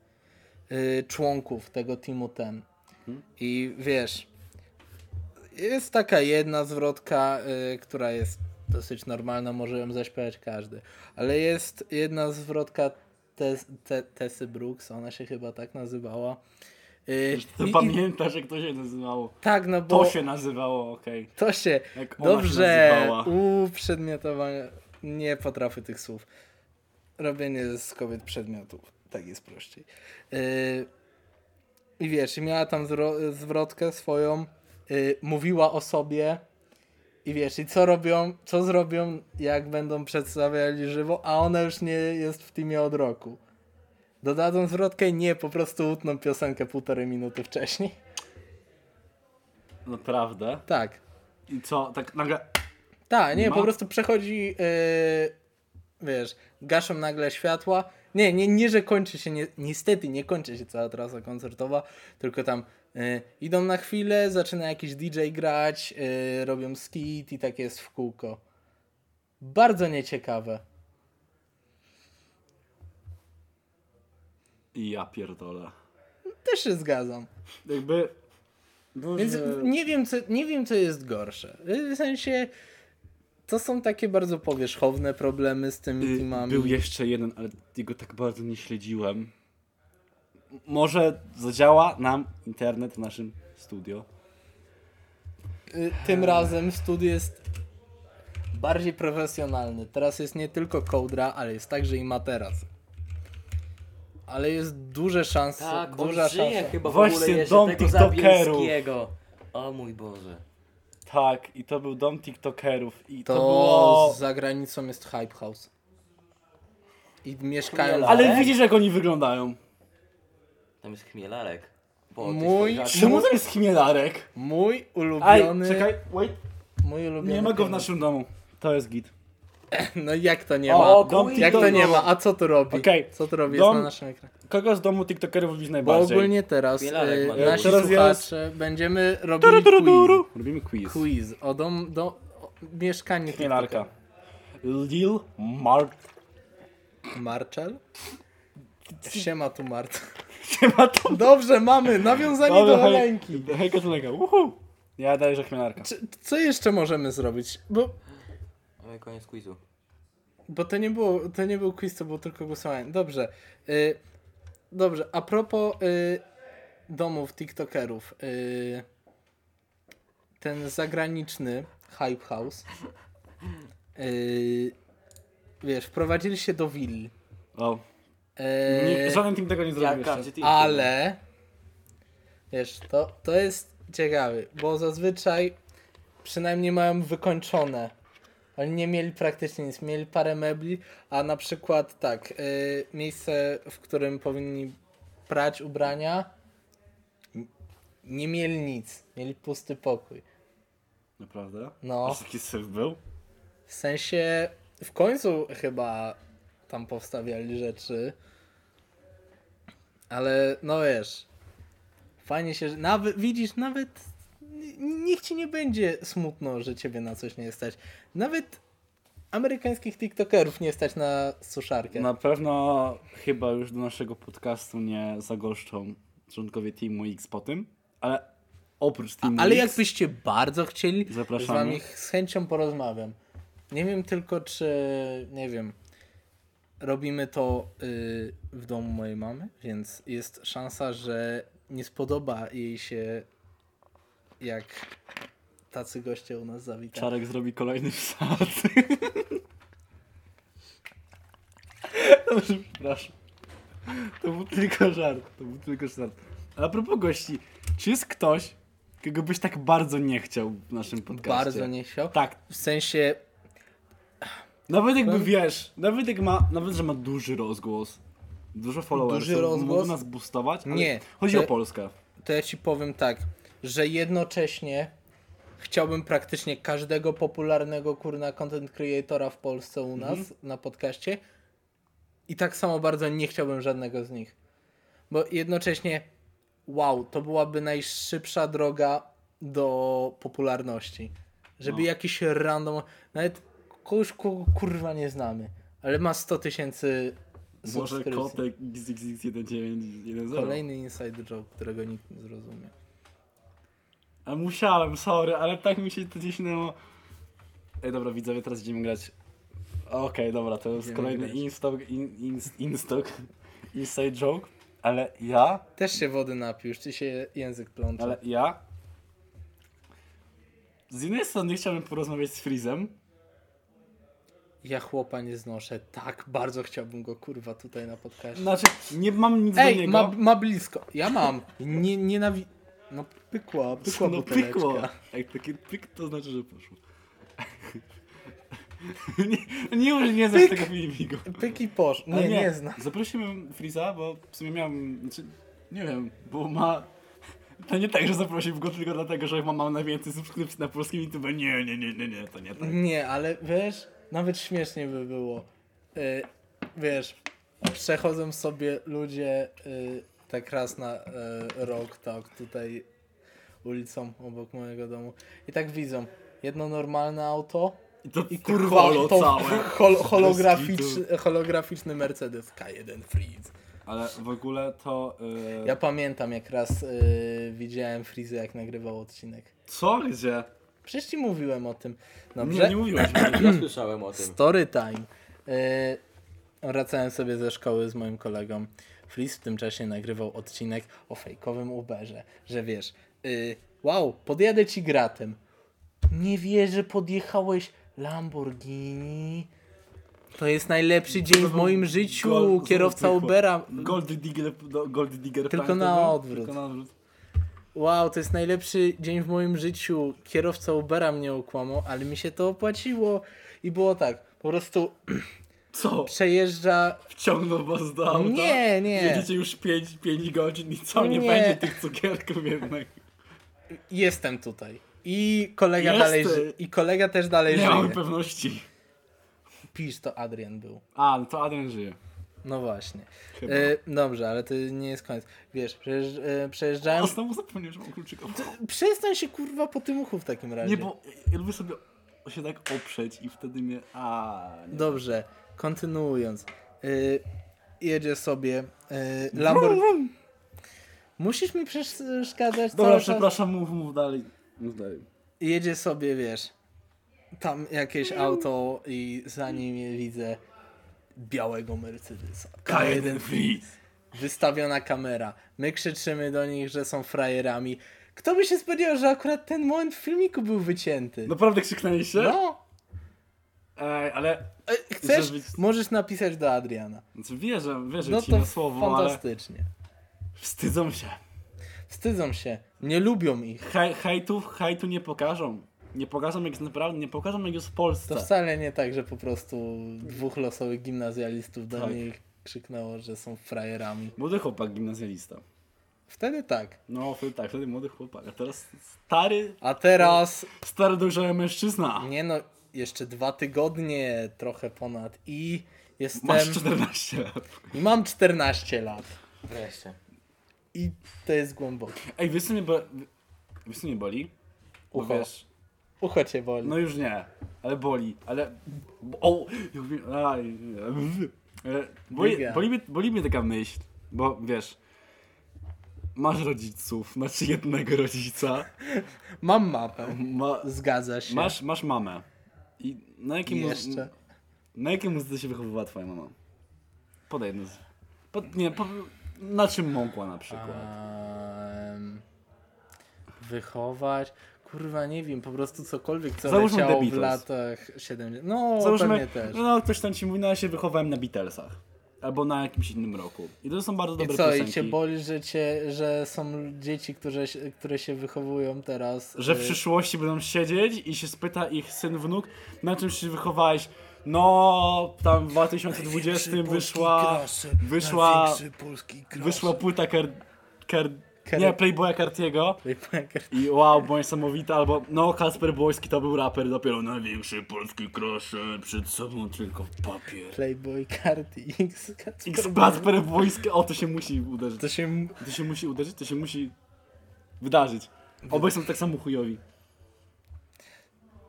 Speaker 1: y, członków tego teamu ten.
Speaker 2: Mhm.
Speaker 1: I wiesz, jest taka jedna zwrotka, y, która jest dosyć normalna, może ją zaśpiewać każdy. Ale jest jedna zwrotka Tes- Te- Tessy Brooks, ona się chyba tak nazywała, Y,
Speaker 2: To
Speaker 1: i- i-
Speaker 2: pamiętasz, jak to się nazywało.
Speaker 1: Tak, no bo
Speaker 2: To się nazywało, okej.
Speaker 1: to się
Speaker 2: Jak ona się
Speaker 1: dobrze
Speaker 2: nazywała.
Speaker 1: uprzedmiotowanie. Nie potrafię tych słów. Robienie z kobiet przedmiotów. Tak jest prościej. Y, I wiesz, i miała tam zwro- zwrotkę swoją, y, mówiła o sobie i wiesz, i co robią, co zrobią, jak będą przedstawiali żywo, a ona już nie jest w teamie od roku. Dodadzą zwrotkę? Nie, po prostu utną piosenkę półtorej minuty wcześniej.
Speaker 2: Naprawdę?
Speaker 1: Tak.
Speaker 2: I co, tak nagle...
Speaker 1: Tak, nie,
Speaker 2: No.
Speaker 1: po prostu przechodzi, yy, wiesz, gaszą nagle światła. Nie, nie, nie, że kończy się, nie, niestety nie kończy się cała trasa koncertowa, tylko tam yy, idą na chwilę, zaczyna jakiś DJ grać, yy, robią skit i tak jest w kółko. Bardzo nieciekawe.
Speaker 2: I ja pierdolę.
Speaker 1: Też się zgadzam.
Speaker 2: Jakby...
Speaker 1: Więc
Speaker 2: Boże.
Speaker 1: nie wiem, co, nie wiem, co jest gorsze. W sensie, to są takie bardzo powierzchowne problemy z tymi
Speaker 2: Y,
Speaker 1: teamami.
Speaker 2: Był jeszcze jeden, ale jego tak bardzo nie śledziłem. M- Może zadziała nam internet w naszym studio.
Speaker 1: Y, tym razem studio jest bardziej profesjonalny. Teraz jest nie tylko kołdra, ale jest także i materac. Ale jest duże szanse,
Speaker 3: Tak, on
Speaker 1: duża
Speaker 3: żyje
Speaker 1: szansa.
Speaker 3: chyba
Speaker 2: Właśnie
Speaker 3: w ogóle jeszcze
Speaker 2: dom
Speaker 3: tego
Speaker 2: tiktokerów.
Speaker 3: Zabielskiego. O mój Boże.
Speaker 2: Tak, i to był dom TikTokerów. I
Speaker 1: To,
Speaker 2: to, było.
Speaker 1: za granicą jest Hype House. I mieszkają...
Speaker 3: Ale-
Speaker 2: Ale widzisz, jak oni wyglądają.
Speaker 3: Tam jest chmielarek. Bo ty
Speaker 1: Mój-
Speaker 3: swoje żarty-
Speaker 2: Czemu to jest chmielarek?
Speaker 1: Mój
Speaker 2: Aj,
Speaker 1: ulubiony...
Speaker 2: czekaj, wait.
Speaker 1: Mój ulubiony
Speaker 2: Nie ma go w
Speaker 1: temat.
Speaker 2: naszym domu. To jest git.
Speaker 1: No jak to nie
Speaker 2: O,
Speaker 1: ma?
Speaker 2: dom
Speaker 3: Jak
Speaker 1: Jak to
Speaker 2: TikTokerów.
Speaker 1: nie ma? A co tu robi?
Speaker 2: Okej.
Speaker 1: Co tu robi?
Speaker 2: Dom-
Speaker 1: Jest na naszym ekranie.
Speaker 2: Kogo z domu TikTokerów lubisz
Speaker 1: Bo
Speaker 2: najbardziej?
Speaker 1: ogólnie teraz y,
Speaker 3: Bielarek ma-
Speaker 1: nasi
Speaker 2: Teraz jest-
Speaker 1: słuchacze będziemy
Speaker 2: Turu,
Speaker 1: robili
Speaker 2: turu,
Speaker 1: quiz.
Speaker 2: turu. Robimy quiz.
Speaker 1: quiz o dom, do, o mieszkanie
Speaker 2: Chmielarka. Lil Mart.
Speaker 1: TikToka. Marcel? Siema tu Mart.
Speaker 2: Siema to
Speaker 1: Dobrze, mamy, nawiązanie do Helenki.
Speaker 2: Hejka do Helenka. uhu. Ja daję, że chmielarka.
Speaker 1: Czy- Co jeszcze możemy zrobić? Bo,
Speaker 3: Mamy No koniec quizu.
Speaker 1: bo to, nie było, to nie był quiz, to było tylko głosowanie. Dobrze. Y, dobrze, a propos y, domów TikTokerów. Y, ten zagraniczny Hype House. Y, wiesz, wprowadzili się do willi.
Speaker 2: O.
Speaker 1: Y,
Speaker 2: Nie, żaden team tego nie zrobił
Speaker 3: Jaka?
Speaker 2: jeszcze.
Speaker 3: Czy ty-
Speaker 1: Ale wiesz, to, to jest ciekawe, bo zazwyczaj przynajmniej mają wykończone. Oni nie mieli praktycznie nic, mieli parę mebli, a na przykład tak, y, miejsce, w którym powinni prać ubrania, n- nie mieli nic, mieli pusty pokój.
Speaker 2: Naprawdę?
Speaker 1: No.
Speaker 2: Aż taki syf był?
Speaker 1: W sensie w końcu chyba tam powstawiali rzeczy. Ale no wiesz. Fajnie się, że nawet widzisz, nawet n- niech ci nie będzie smutno, że ciebie na coś nie stać. Nawet amerykańskich TikTokerów nie stać na suszarkę.
Speaker 2: Na pewno chyba już do naszego podcastu nie zagoszczą członkowie Teamu X po tym, ale oprócz Teamu
Speaker 1: Ale
Speaker 2: X...
Speaker 1: jakbyście bardzo chcieli,
Speaker 2: Zapraszamy.
Speaker 1: z wami z chęcią porozmawiam. Nie wiem tylko, czy nie wiem. Robimy to y, w domu mojej mamy, więc jest szansa, że nie spodoba jej się, jak tacy goście u nas zawitają.
Speaker 2: Czarek zrobi kolejny wsad. Dobrze, przepraszam. To był tylko żart, to był tylko żart. A propos gości, czy jest ktoś, kogo byś tak bardzo nie chciał w naszym podcaście?
Speaker 1: Bardzo nie chciał.
Speaker 2: Tak,
Speaker 1: W sensie
Speaker 2: Nawet jakby wiesz, nawet jak ma, nawet że ma duży rozgłos, dużo followersów,
Speaker 1: Duży rozgłos?
Speaker 2: może nas boostować, ale
Speaker 1: Nie.
Speaker 2: chodzi
Speaker 1: To-
Speaker 2: o Polskę.
Speaker 1: to ja ci powiem tak, że jednocześnie chciałbym praktycznie każdego popularnego kurna content creatora w Polsce u
Speaker 2: Mhm.
Speaker 1: nas na podcaście i tak samo bardzo nie chciałbym żadnego z nich. Bo jednocześnie wow, to byłaby najszybsza droga do popularności. Żeby
Speaker 2: No.
Speaker 1: jakiś random, nawet kogoś kogo kurwa nie znamy, ale ma 100 tysięcy
Speaker 2: Może
Speaker 1: subskrypcji.
Speaker 2: kotek XXX1910.
Speaker 1: Kolejny inside joke, którego nikt nie zrozumie.
Speaker 2: A musiałem, sorry, ale tak mi się to ciśnęło. Ej, dobra, widzowie, teraz idziemy grać. Okej, dobra, to jest
Speaker 1: Idziemy
Speaker 2: kolejny
Speaker 1: grać.
Speaker 2: instok, in, in, instok, inside joke. Ale ja
Speaker 1: Też się wody napił, już ci się język plącze.
Speaker 2: Ale ja. Z jednej strony chciałbym porozmawiać z Freezem.
Speaker 1: Ja chłopa nie znoszę. Tak bardzo chciałbym go kurwa tutaj na podcaście.
Speaker 2: Znaczy, nie mam nic do
Speaker 1: Ej,
Speaker 2: niego.
Speaker 1: ma, ma blisko. Ja mam. Nie, nienawi... No pykła, pykła
Speaker 2: no
Speaker 1: buteleczka.
Speaker 2: pykło. Jak taki pyk, to znaczy, że poszło. nie, nie już nie znasz
Speaker 1: Pyk.
Speaker 2: tego filmiku.
Speaker 1: Pyk i posz. Nie,
Speaker 2: Ale
Speaker 1: nie, nie znam.
Speaker 2: Zaprosiłem Freeza, bo w sumie miałem. Znaczy, nie wiem, bo ma. To nie tak, że zaprosił go tylko dlatego, że ma mam najwięcej subskrypcji na polskim YouTube. Nie, nie, nie, nie, nie, to nie tak.
Speaker 1: Nie, ale wiesz, nawet śmiesznie by było. Y, wiesz, przechodzą sobie ludzie y, tak raz na y, rok, tak, tutaj ulicą obok mojego domu. I tak widzą jedno normalne auto
Speaker 2: I to
Speaker 1: i kurwa
Speaker 2: holo
Speaker 1: to
Speaker 2: całe.
Speaker 1: hol,
Speaker 2: Bez
Speaker 1: holograficzny, holograficzny Mercedes K1 Freeze.
Speaker 2: Ale w ogóle to. Yy...
Speaker 1: Ja pamiętam jak raz y, widziałem Freeze jak nagrywał odcinek.
Speaker 2: Co? Gdzie?
Speaker 1: Przecież ci mówiłem o tym. Dobrze?
Speaker 2: Nie, nie mówiłeś.
Speaker 3: Ja słyszałem o tym.
Speaker 1: Story time. Yy, wracałem sobie ze szkoły z moim kolegą. Flis w tym czasie nagrywał odcinek o fejkowym Uberze, że wiesz, yy, wow, podjadę ci gratem. Nie wierzę, podjechałeś Lamborghini. To jest najlepszy dzień w moim życiu.
Speaker 2: Gol-
Speaker 1: Kierowca
Speaker 2: zwykła.
Speaker 1: Ubera.
Speaker 2: Gold digger, do- gold digger
Speaker 1: Tylko
Speaker 2: plan,
Speaker 1: na
Speaker 2: to był?
Speaker 1: odwrót.
Speaker 2: Tylko na odwrót.
Speaker 1: Wow, to jest najlepszy dzień w moim życiu. Kierowca Ubera mnie okłamał, ale mi się to opłaciło. I było tak, po prostu
Speaker 2: Co?
Speaker 1: przejeżdża
Speaker 2: Wciągnął was do auta?
Speaker 1: Nie, nie.
Speaker 2: Jedziecie już 5, 5 godzin i co? Nie,
Speaker 1: Nie.
Speaker 2: będzie tych cukierków jednak.
Speaker 1: Jestem tutaj. I kolega dalej
Speaker 2: Jesteś.
Speaker 1: ży- I kolega też dalej
Speaker 2: Nie mam
Speaker 1: żyje.
Speaker 2: pewności.
Speaker 1: Pisz to Adrian był.
Speaker 2: A, no to Adrian żyje.
Speaker 1: No właśnie.
Speaker 2: Chyba.
Speaker 1: E, dobrze, ale to nie jest koniec. Wiesz, przejeżdż, e, przejeżdżałem.
Speaker 2: A znowu zapomniałem, że mam kluczyk. O,
Speaker 1: Przestań się kurwa po tym uchu w takim razie.
Speaker 2: Nie, bo ja lubię sobie się tak oprzeć i wtedy mnie... A, nie.
Speaker 1: Dobrze, kontynuując. E, jedzie sobie e, Lamborghini. Musisz mi przeszkadzać
Speaker 2: Dobra,
Speaker 1: cały czas.
Speaker 2: przepraszam, mów, mów dalej. Mów dalej.
Speaker 1: jedzie sobie, wiesz, tam jakieś auto i za nim je widzę białego Mercedesa.
Speaker 2: K1 Freeze.
Speaker 1: Wystawiona kamera. My krzyczymy do nich, że są frajerami. Kto by się spodziewał, że akurat ten moment w filmiku był wycięty?
Speaker 2: Naprawdę krzyknęliście?
Speaker 1: No.
Speaker 2: Ej, ale...
Speaker 1: E, Chcesz?
Speaker 2: Żeby-
Speaker 1: Możesz napisać do Adriana.
Speaker 2: Znaczy, wierzę, wierzę
Speaker 1: No
Speaker 2: ci na
Speaker 1: to
Speaker 2: słowo, ale
Speaker 1: fantastycznie.
Speaker 2: wstydzą się.
Speaker 1: Wstydzą się. Nie lubią ich.
Speaker 2: Hej, hejtów, hejtu nie pokażą. Nie pokażą jak jest naprawdę, nie pokażą jak jest w Polsce.
Speaker 1: To wcale nie tak, że po prostu dwóch losowych gimnazjalistów do
Speaker 2: Tak.
Speaker 1: nich krzyknęło, że są frajerami.
Speaker 2: Młody chłopak gimnazjalista.
Speaker 1: Wtedy tak.
Speaker 2: No, wtedy tak, wtedy młody chłopak, a teraz stary,
Speaker 1: A teraz,
Speaker 2: stary dojrzały mężczyzna.
Speaker 1: nie no, jeszcze dwa tygodnie, trochę ponad i
Speaker 2: Masz
Speaker 1: jestem...
Speaker 2: 14 lat.
Speaker 1: I mam 14 lat.
Speaker 3: Wreszcie.
Speaker 1: I to jest głębokie.
Speaker 2: Ej, wiesz co mnie boli? Wiesz co mnie boli? Bo
Speaker 1: Ucho.
Speaker 2: wiesz,
Speaker 1: Ucho cię boli.
Speaker 2: no już nie, ale boli, ale... O, ja mówię, aj, ale boli,
Speaker 1: Biga.
Speaker 2: boli, mnie, boli mnie taka myśl, bo wiesz... Masz rodziców, masz jednego rodzica,
Speaker 1: Mam mapę.
Speaker 2: ma,
Speaker 1: Zgadza się.
Speaker 2: Masz, masz mamę. I na jakim
Speaker 1: Jeszcze.
Speaker 2: Na jakiej muzyce się wychowywała twoja mama? Podaj jedno z... Pod, nie, po, na czym mogła na przykład?
Speaker 1: Em, wychować. Kurwa, nie wiem, po prostu cokolwiek, co
Speaker 2: Załóżmy
Speaker 1: leciało
Speaker 2: The
Speaker 1: w
Speaker 2: Beatles.
Speaker 1: latach 70. No, pewnie też.
Speaker 2: no ktoś tam ci mówi, no ja się wychowałem na Beatlesach. Albo na jakimś innym roku. I to są bardzo
Speaker 1: I
Speaker 2: dobre
Speaker 1: co,
Speaker 2: piosenki.
Speaker 1: i cię boli, że, cię, że są dzieci, które, się- które się wychowują teraz.
Speaker 2: Że
Speaker 1: y,
Speaker 2: w przyszłości będą siedzieć i się spyta ich syn, wnuk, na czym się wychowałeś? No, tam w 2020 wyszła, wyszła, wyszła płyta kar, kar,
Speaker 1: Kar-
Speaker 2: nie, Playboya Cartiego. I wow, bo niesamowite, albo no Kasper Błoński to był raper dopiero największy polski crusher, przed sobą tylko papier.
Speaker 1: Playboy Karty X.
Speaker 2: X Kasper Błoński, o to się musi uderzyć.
Speaker 1: To się
Speaker 2: To się musi uderzyć, to się musi wydarzyć. Obaj są tak samo chujowi.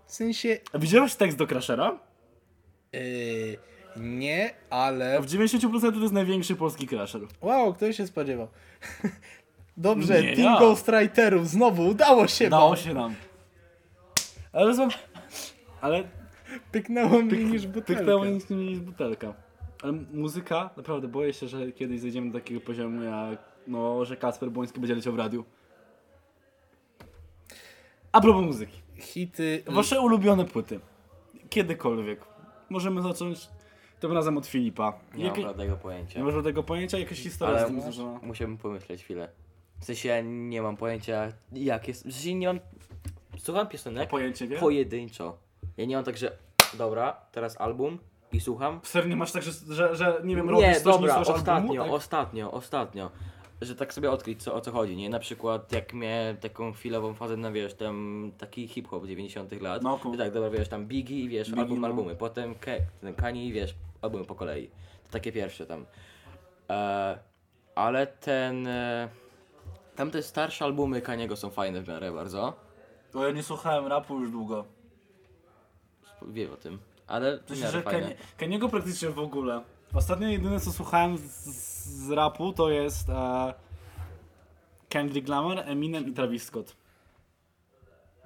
Speaker 1: w sensie.
Speaker 2: A widziałeś tekst do Crushera?
Speaker 1: y, nie, ale.
Speaker 2: W 90% to jest największy polski crusher.
Speaker 1: Wow, kto się spodziewał? Dobrze,
Speaker 2: Nie
Speaker 1: Team
Speaker 2: ja.
Speaker 1: Ghostwriterów znowu udało się.
Speaker 2: Dało
Speaker 1: wam.
Speaker 2: się nam. Ale są... Ale
Speaker 1: Pyknęło mi niż butelka.
Speaker 2: tyknęło nic nie jest butelka. Ale muzyka, naprawdę boję się, że kiedyś zejdziemy do takiego poziomu jak, no, że Kasper Błoński będzie leciał w radiu. A propos muzyki.
Speaker 1: Hity.
Speaker 2: Wasze
Speaker 3: Mm.
Speaker 2: ulubione płyty. Kiedykolwiek. Możemy zacząć tym razem od Filipa.
Speaker 3: Nie
Speaker 2: Jakie-
Speaker 3: mam żadnego
Speaker 2: nie
Speaker 3: pojęcia.
Speaker 2: masz tego pojęcia? Jakaś historia
Speaker 3: Ale
Speaker 2: z tym
Speaker 3: mus,
Speaker 2: związana?
Speaker 3: musiałbym pomyśleć chwilę. W sensie ja nie mam pojęcia jak jest. W sensie nie mam. Słucham piosenek
Speaker 2: Pojęcie, wie?
Speaker 3: pojedynczo. Ja nie mam tak, że dobra, teraz album i słucham.
Speaker 2: Serio masz tak, że, że, że nie wiem, robisz
Speaker 3: Nie,
Speaker 2: coś,
Speaker 3: dobra,
Speaker 2: nie słyszysz
Speaker 3: ostatnio,
Speaker 2: albumu, tak?
Speaker 3: ostatnio, ostatnio. Że tak sobie odkryć co, o co chodzi, nie? Na przykład jak miałem taką chwilową fazę na wiesz, tam taki hip-hop 90 lat.
Speaker 2: No, cool.
Speaker 3: I tak, dobra, wiesz, tam Biggie i wiesz,
Speaker 2: Biggie,
Speaker 3: album,
Speaker 2: no.
Speaker 3: albumy. Potem Ke- ten Kanye i wiesz, albumy po kolei. To takie pierwsze tam. E, ale ten... E, tamte starsze albumy Kaniego są fajne w miarę bardzo.
Speaker 2: Bo ja nie słuchałem rapu już długo.
Speaker 3: Wiem o tym. Ale
Speaker 2: W
Speaker 3: w
Speaker 2: sensie,
Speaker 3: miarę
Speaker 2: że
Speaker 3: fajne.
Speaker 2: Kanie, Kaniego praktycznie w ogóle. Ostatnio jedyne co słuchałem z, z rapu to jest e, Kendrick Lamar, Eminem i Travis Scott.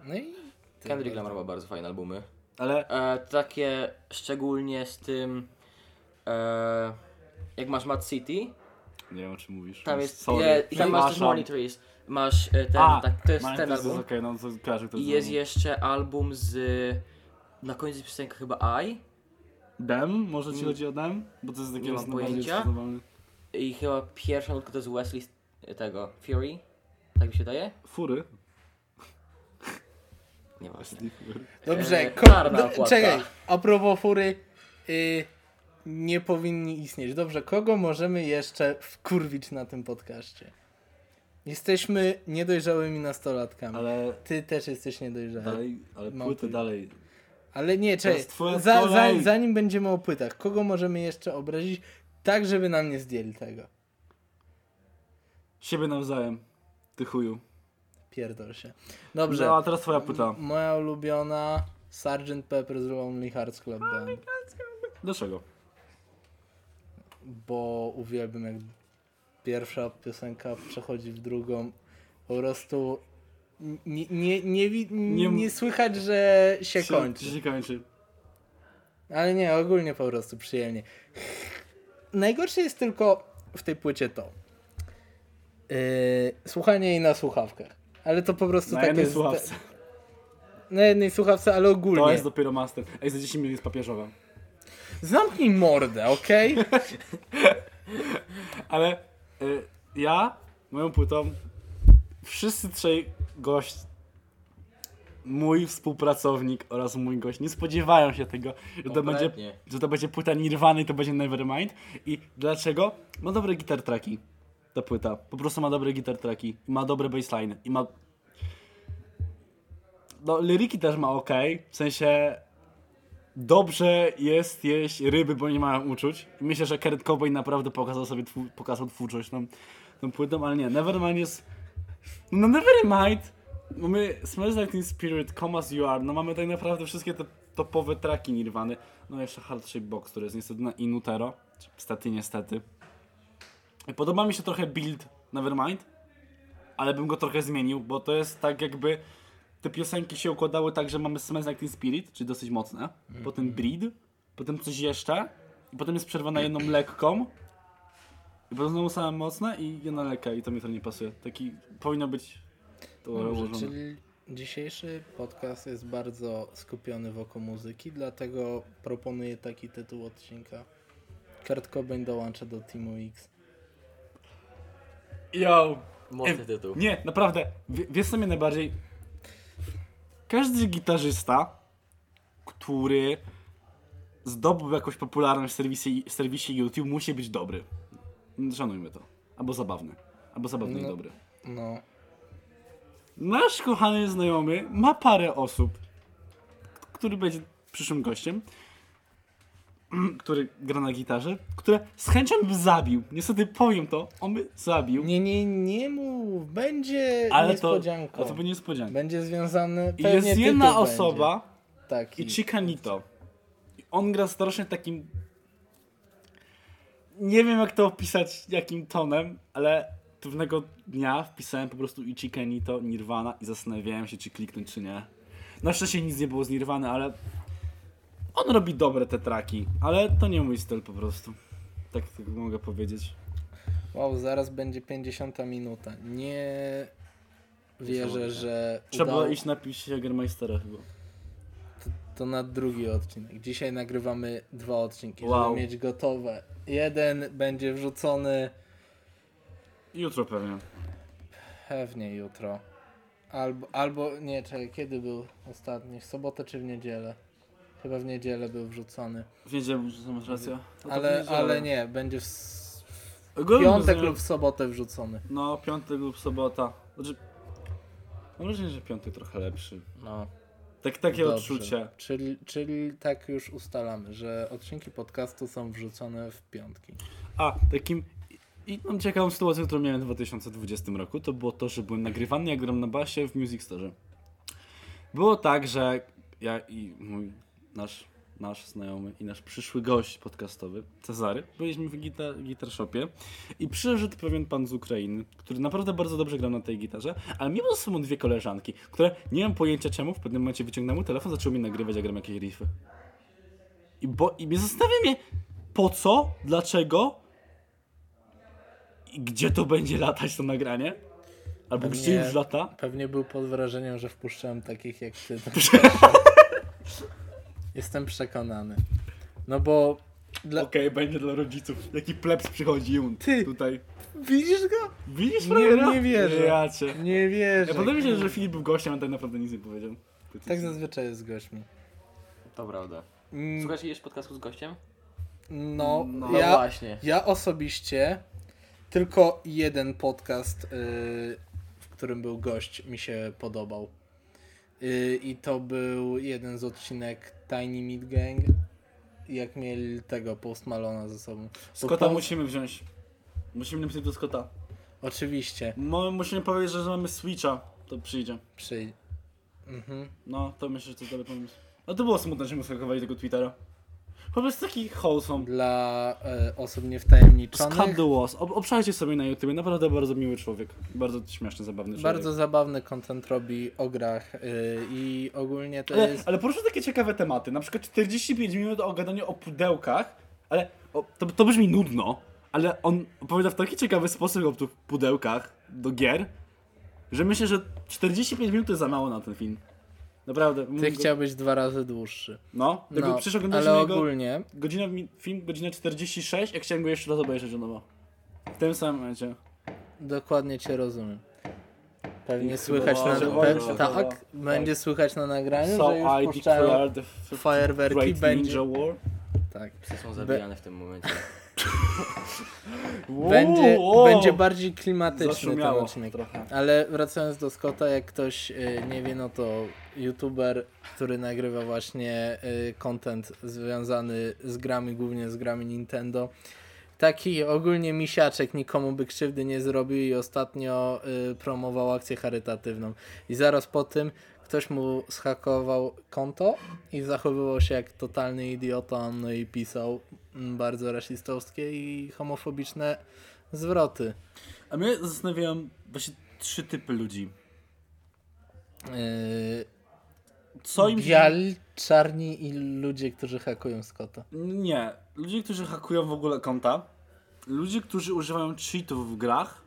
Speaker 1: No i
Speaker 3: Kendrick Lamar ma bardzo fajne albumy.
Speaker 2: Ale
Speaker 3: E, takie szczególnie z tym, e, jak masz Mad City,
Speaker 2: nie wiem o czym mówisz.
Speaker 3: tam jest,
Speaker 2: Sorry.
Speaker 3: je, i tam masz też
Speaker 2: Przepraszam.
Speaker 3: Money Trees, masz e, ten,
Speaker 2: A,
Speaker 3: tak, to jest
Speaker 2: Money
Speaker 3: ten
Speaker 2: Trees
Speaker 3: album.
Speaker 2: jest okej, no to kojarzę, kto
Speaker 3: I
Speaker 2: to
Speaker 3: jest
Speaker 2: zrobił.
Speaker 3: jeszcze album z, na końcu piosenka chyba I
Speaker 2: Dem? Może ci chodzi o Dem? Bo to jest taki
Speaker 3: Mm. Nie mam pojęcia. i chyba pierwsza nutka to jest Wesley z- tego, Fury, tak mi się daje?
Speaker 2: Fury.
Speaker 3: Nie ważne.
Speaker 1: Dobrze,
Speaker 2: Eee,
Speaker 3: E,
Speaker 1: ko-
Speaker 3: czarna
Speaker 1: do-
Speaker 3: okładka.
Speaker 1: czekaj. A propos fury, y, nie powinni istnieć. Dobrze, kogo możemy jeszcze wkurwić na tym podcaście? Jesteśmy niedojrzałymi nastolatkami.
Speaker 2: Ale
Speaker 1: Ty też jesteś niedojrzały.
Speaker 3: E,
Speaker 2: dalej, ale
Speaker 1: Mam
Speaker 2: płyty
Speaker 1: pojęcie.
Speaker 2: dalej.
Speaker 1: Ale nie, czekaj.
Speaker 2: jest twoja
Speaker 1: Za, za,
Speaker 2: kolej.
Speaker 1: zanim będziemy o płytach, kogo możemy jeszcze obrazić, tak żeby nam nie zdjęli tego.
Speaker 2: Siebie nawzajem. Ty chuju.
Speaker 1: Pierdol się.
Speaker 2: Dobrze.
Speaker 1: Dobrze.
Speaker 2: No, a teraz twoja płyta.
Speaker 3: Mm.
Speaker 1: Moja ulubiona Sgt. Pepper's Lonely Hearts Club
Speaker 2: Oh
Speaker 1: Band.
Speaker 2: Dlaczego?
Speaker 1: bo uwielbiam jak pierwsza piosenka przechodzi w drugą. Po prostu nie, nie, nie, wi-
Speaker 2: Nie
Speaker 1: nie,
Speaker 2: m-
Speaker 1: słychać, że się
Speaker 2: Czy- czy
Speaker 1: kończy.
Speaker 2: Się kończy.
Speaker 1: Ale nie, ogólnie po prostu przyjemnie. Najgorsze jest tylko w tej płycie to. Yy, słuchanie jej na słuchawkach. Ale to po prostu
Speaker 2: Na
Speaker 1: tak
Speaker 2: jednej
Speaker 1: jest.
Speaker 2: słuchawce.
Speaker 1: Na jednej słuchawce, ale ogólnie.
Speaker 2: To jest dopiero master. Ej, za 10 minut jest papieżowa.
Speaker 1: Zamknij mordę, okej?
Speaker 2: Ale y, ja, moją płytą, wszyscy trzej gość, mój współpracownik oraz mój gość nie spodziewają się tego, że to, będzie,
Speaker 3: Kompletnie.
Speaker 2: że to będzie płyta Nirwany i to będzie Nevermind. I dlaczego? Ma dobre gitar tracki, ta płyta. Po prostu ma dobre gitar tracki, i ma dobre bassline i ma... No, liryki też ma ok, w sensie dobrze jest jeść ryby, bo nie mają uczuć. Myślę, że Kurt Cobain naprawdę pokazał sobie twu- pokazał twórczość tą, tą płytą, ale nie, Nevermind jest... No Nevermind! Mamy Smells Like Teen Spirit, Comas You Are, no mamy tak naprawdę wszystkie te topowe traki Nirwany. No jeszcze Hard Shape Box, który jest niestety na Inutero, czy stety niestety. Podoba mi się trochę build Nevermind, ale bym go trochę zmienił, bo to jest tak jakby te piosenki się układały tak, że mamy Smells Like Teen Spirit, czyli dosyć mocne, potem
Speaker 1: Mhm.
Speaker 2: Breed, potem coś jeszcze i potem jest przerwana jedną lekką i potem znowu same mocne i jedna lekka i to mi to nie pasuje. Taki powinno być to
Speaker 1: Dobrze,
Speaker 2: ułożone.
Speaker 1: czyli dzisiejszy podcast jest bardzo skupiony wokół muzyki, dlatego proponuję taki tytuł odcinka. Kurt Cobain dołącza do Teamu X.
Speaker 2: Yo!
Speaker 3: Mocny tytuł.
Speaker 2: Nie, naprawdę, wie- wiesz co mnie najbardziej... Każdy gitarzysta, który zdobył jakąś popularność w serwisie, w serwisie YouTube, musi być dobry. Szanujmy to. Albo zabawny. Albo zabawny i
Speaker 1: No.
Speaker 2: dobry.
Speaker 1: No,
Speaker 2: Nasz kochany znajomy ma parę osób, k- który będzie przyszłym gościem, mm, który gra na gitarze, które z chęcią by zabił. Niestety powiem to, on by zabił,
Speaker 1: nie, nie, nie mów, będzie
Speaker 2: ale to,
Speaker 1: niespodzianką.
Speaker 2: ale to by niespodzianka.
Speaker 1: Będzie związany,
Speaker 2: I
Speaker 1: pewnie Tak,
Speaker 2: jest jedna
Speaker 1: tytuł
Speaker 2: osoba,
Speaker 1: będzie. Taki.
Speaker 2: i Chicanito. I On gra strasznie takim. Nie wiem jak to opisać, jakim tonem, ale pewnego dnia wpisałem po prostu i Chicanito, Nirvana i zastanawiałem się, czy kliknąć, czy nie. Na szczęście nic nie było z Nirvany, ale. On robi dobre te traki, ale to nie mój styl po prostu. Tak tylko mogę powiedzieć.
Speaker 1: Wow, zaraz będzie 50 minuta. Nie wierzę,
Speaker 3: Niesamowite.
Speaker 1: że
Speaker 2: Trzeba
Speaker 1: udało...
Speaker 2: iść napić się Jagermeistera chyba.
Speaker 1: to na drugi odcinek. Dzisiaj nagrywamy dwa odcinki,
Speaker 2: Wow.
Speaker 1: żeby mieć gotowe. Jeden będzie wrzucony
Speaker 2: Jutro pewnie.
Speaker 1: pewnie jutro. Albo, albo nie, czekaj, kiedy był ostatni? W sobotę czy w niedzielę? Chyba w niedzielę był wrzucony.
Speaker 2: W niedzielę, że masz rację. No to w
Speaker 1: Ale,
Speaker 2: niedzielę.
Speaker 1: ale nie, będzie w s- w
Speaker 2: Ogólnie
Speaker 1: piątek
Speaker 2: rozumiem-
Speaker 1: lub w sobotę wrzucony.
Speaker 2: No, piątek lub sobota. Znaczy, no różnie, że piątek trochę lepszy.
Speaker 3: No.
Speaker 2: Tak, takie
Speaker 1: Dobrze.
Speaker 2: odczucie.
Speaker 1: Czyli, czyli tak już ustalamy, że odcinki podcastu są wrzucone w piątki.
Speaker 2: A, takim... I mam ciekawą sytuację, którą miałem w 2020 roku, to było to, że byłem nagrywany, jak gram na basie w Music Store. Było tak, że ja i mój, nasz, nasz znajomy i nasz przyszły gość podcastowy, Cezary, byliśmy w gita- Guitar Shopie i przyszedł pewien pan z Ukrainy, który naprawdę bardzo dobrze grał na tej gitarze, ale miał ze sobą dwie koleżanki, które nie mam pojęcia czemu, w pewnym momencie wyciągnęły telefon, zaczęły mi nagrywać, jak gram jakieś riffy. I, bo, i mnie zastanawia mnie, po co, dlaczego i gdzie to będzie latać to nagranie? Albo
Speaker 1: Pewnie-
Speaker 2: gdzie już lata?
Speaker 1: Pewnie był pod wrażeniem, że wpuszczałem takich jak ty. Jestem przekonany. No bo dla...
Speaker 2: Okej, będzie dla rodziców. Jaki plebs przychodzi im
Speaker 1: Ty!
Speaker 2: tutaj.
Speaker 1: widzisz go?
Speaker 2: Widzisz
Speaker 1: Nie-
Speaker 2: Fragera?
Speaker 1: nie wierzę.
Speaker 2: Ja cię.
Speaker 1: Nie wierzę.
Speaker 2: Ja podoba mi się, że Filip był gościem, a tak naprawdę nic nie powiedział.
Speaker 1: Tak zazwyczaj jest z gośćmi.
Speaker 3: To prawda.
Speaker 1: Mm,
Speaker 3: Słuchajcie, jeszcze podcastu z gościem?
Speaker 1: No,
Speaker 3: No
Speaker 1: ja,
Speaker 3: właśnie.
Speaker 1: ja osobiście tylko jeden podcast, y, w którym był gość, mi się podobał. Y, I to był jeden z odcinek Tiny Meat Gang, jak mieli tego Post Malona ze sobą. Bo
Speaker 2: Scotta
Speaker 1: Post-
Speaker 2: musimy wziąć. Musimy napisać do Scotta.
Speaker 1: Oczywiście.
Speaker 2: Mo- musimy powiedzieć, że mamy Switcha. To przyjdzie.
Speaker 1: Przy... Mhm.
Speaker 2: No, to myślę, że to dobry pomysł. No to było smutne, że mu skakowali tego Twittera. Po prostu taki wholesome.
Speaker 1: Dla e, osób niewtajemniczonych.
Speaker 2: Scut the walls. Ob- obszarcie sobie na YouTube. Naprawdę bardzo miły człowiek. Bardzo śmieszny, zabawny człowiek.
Speaker 1: Bardzo zabawny content robi o grach y, i ogólnie to
Speaker 2: Ale,
Speaker 1: jest...
Speaker 2: ale poruszył takie ciekawe tematy. Na przykład 45 minut o gadaniu o pudełkach, ale o, to, to brzmi nudno, ale on opowiada w taki ciekawy sposób o tych pudełkach do gier, że myślę, że 45 minut to jest za mało na ten film. Naprawdę.
Speaker 1: Ty
Speaker 2: mógł-
Speaker 1: chciałbyś dwa razy dłuższy.
Speaker 2: No, tego
Speaker 1: No,
Speaker 2: przecież oglądaliśmy
Speaker 1: ale
Speaker 2: jego
Speaker 1: ogólnie
Speaker 2: godzina, mi- film, godzina 46, jak chciałem go jeszcze raz obejrzeć od nowa. W tym samym momencie.
Speaker 1: dokładnie cię rozumiem. Pewnie
Speaker 2: I
Speaker 1: słychać
Speaker 2: chyba-
Speaker 1: na...
Speaker 2: że
Speaker 1: Pe...
Speaker 2: wolno,
Speaker 1: Tak,
Speaker 2: chyba.
Speaker 1: będzie słychać na nagraniu,
Speaker 2: So
Speaker 1: że już
Speaker 2: I
Speaker 1: puszczają...
Speaker 2: declare the f-
Speaker 1: fajerwerki,
Speaker 2: Great
Speaker 1: będzie-
Speaker 2: Ninja War.
Speaker 1: Tak.
Speaker 3: Psy są zabijane w tym momencie.
Speaker 1: Będzie,
Speaker 2: Wow!
Speaker 1: będzie bardziej klimatyczny ten
Speaker 2: Zaszumiało
Speaker 1: odcinek.
Speaker 2: trochę.
Speaker 1: Ale wracając do Scotta, jak ktoś y, nie wie, no to youtuber, który nagrywa właśnie y, content związany z grami, głównie z grami Nintendo. Taki ogólnie misiaczek nikomu by krzywdy nie zrobił i ostatnio y, promował akcję charytatywną. I zaraz po tym ktoś mu schakował konto i zachowywał się jak totalny idiota, no i pisał mm, bardzo rasistowskie i homofobiczne zwroty.
Speaker 2: A mnie zastanawiałem właśnie trzy typy ludzi.
Speaker 1: Yy,
Speaker 2: Co im się
Speaker 1: Biali, czarni i ludzie, którzy hakują Scotta.
Speaker 2: Nie. Ludzie, którzy hakują w ogóle konta. Ludzie, którzy używają cheatów w grach.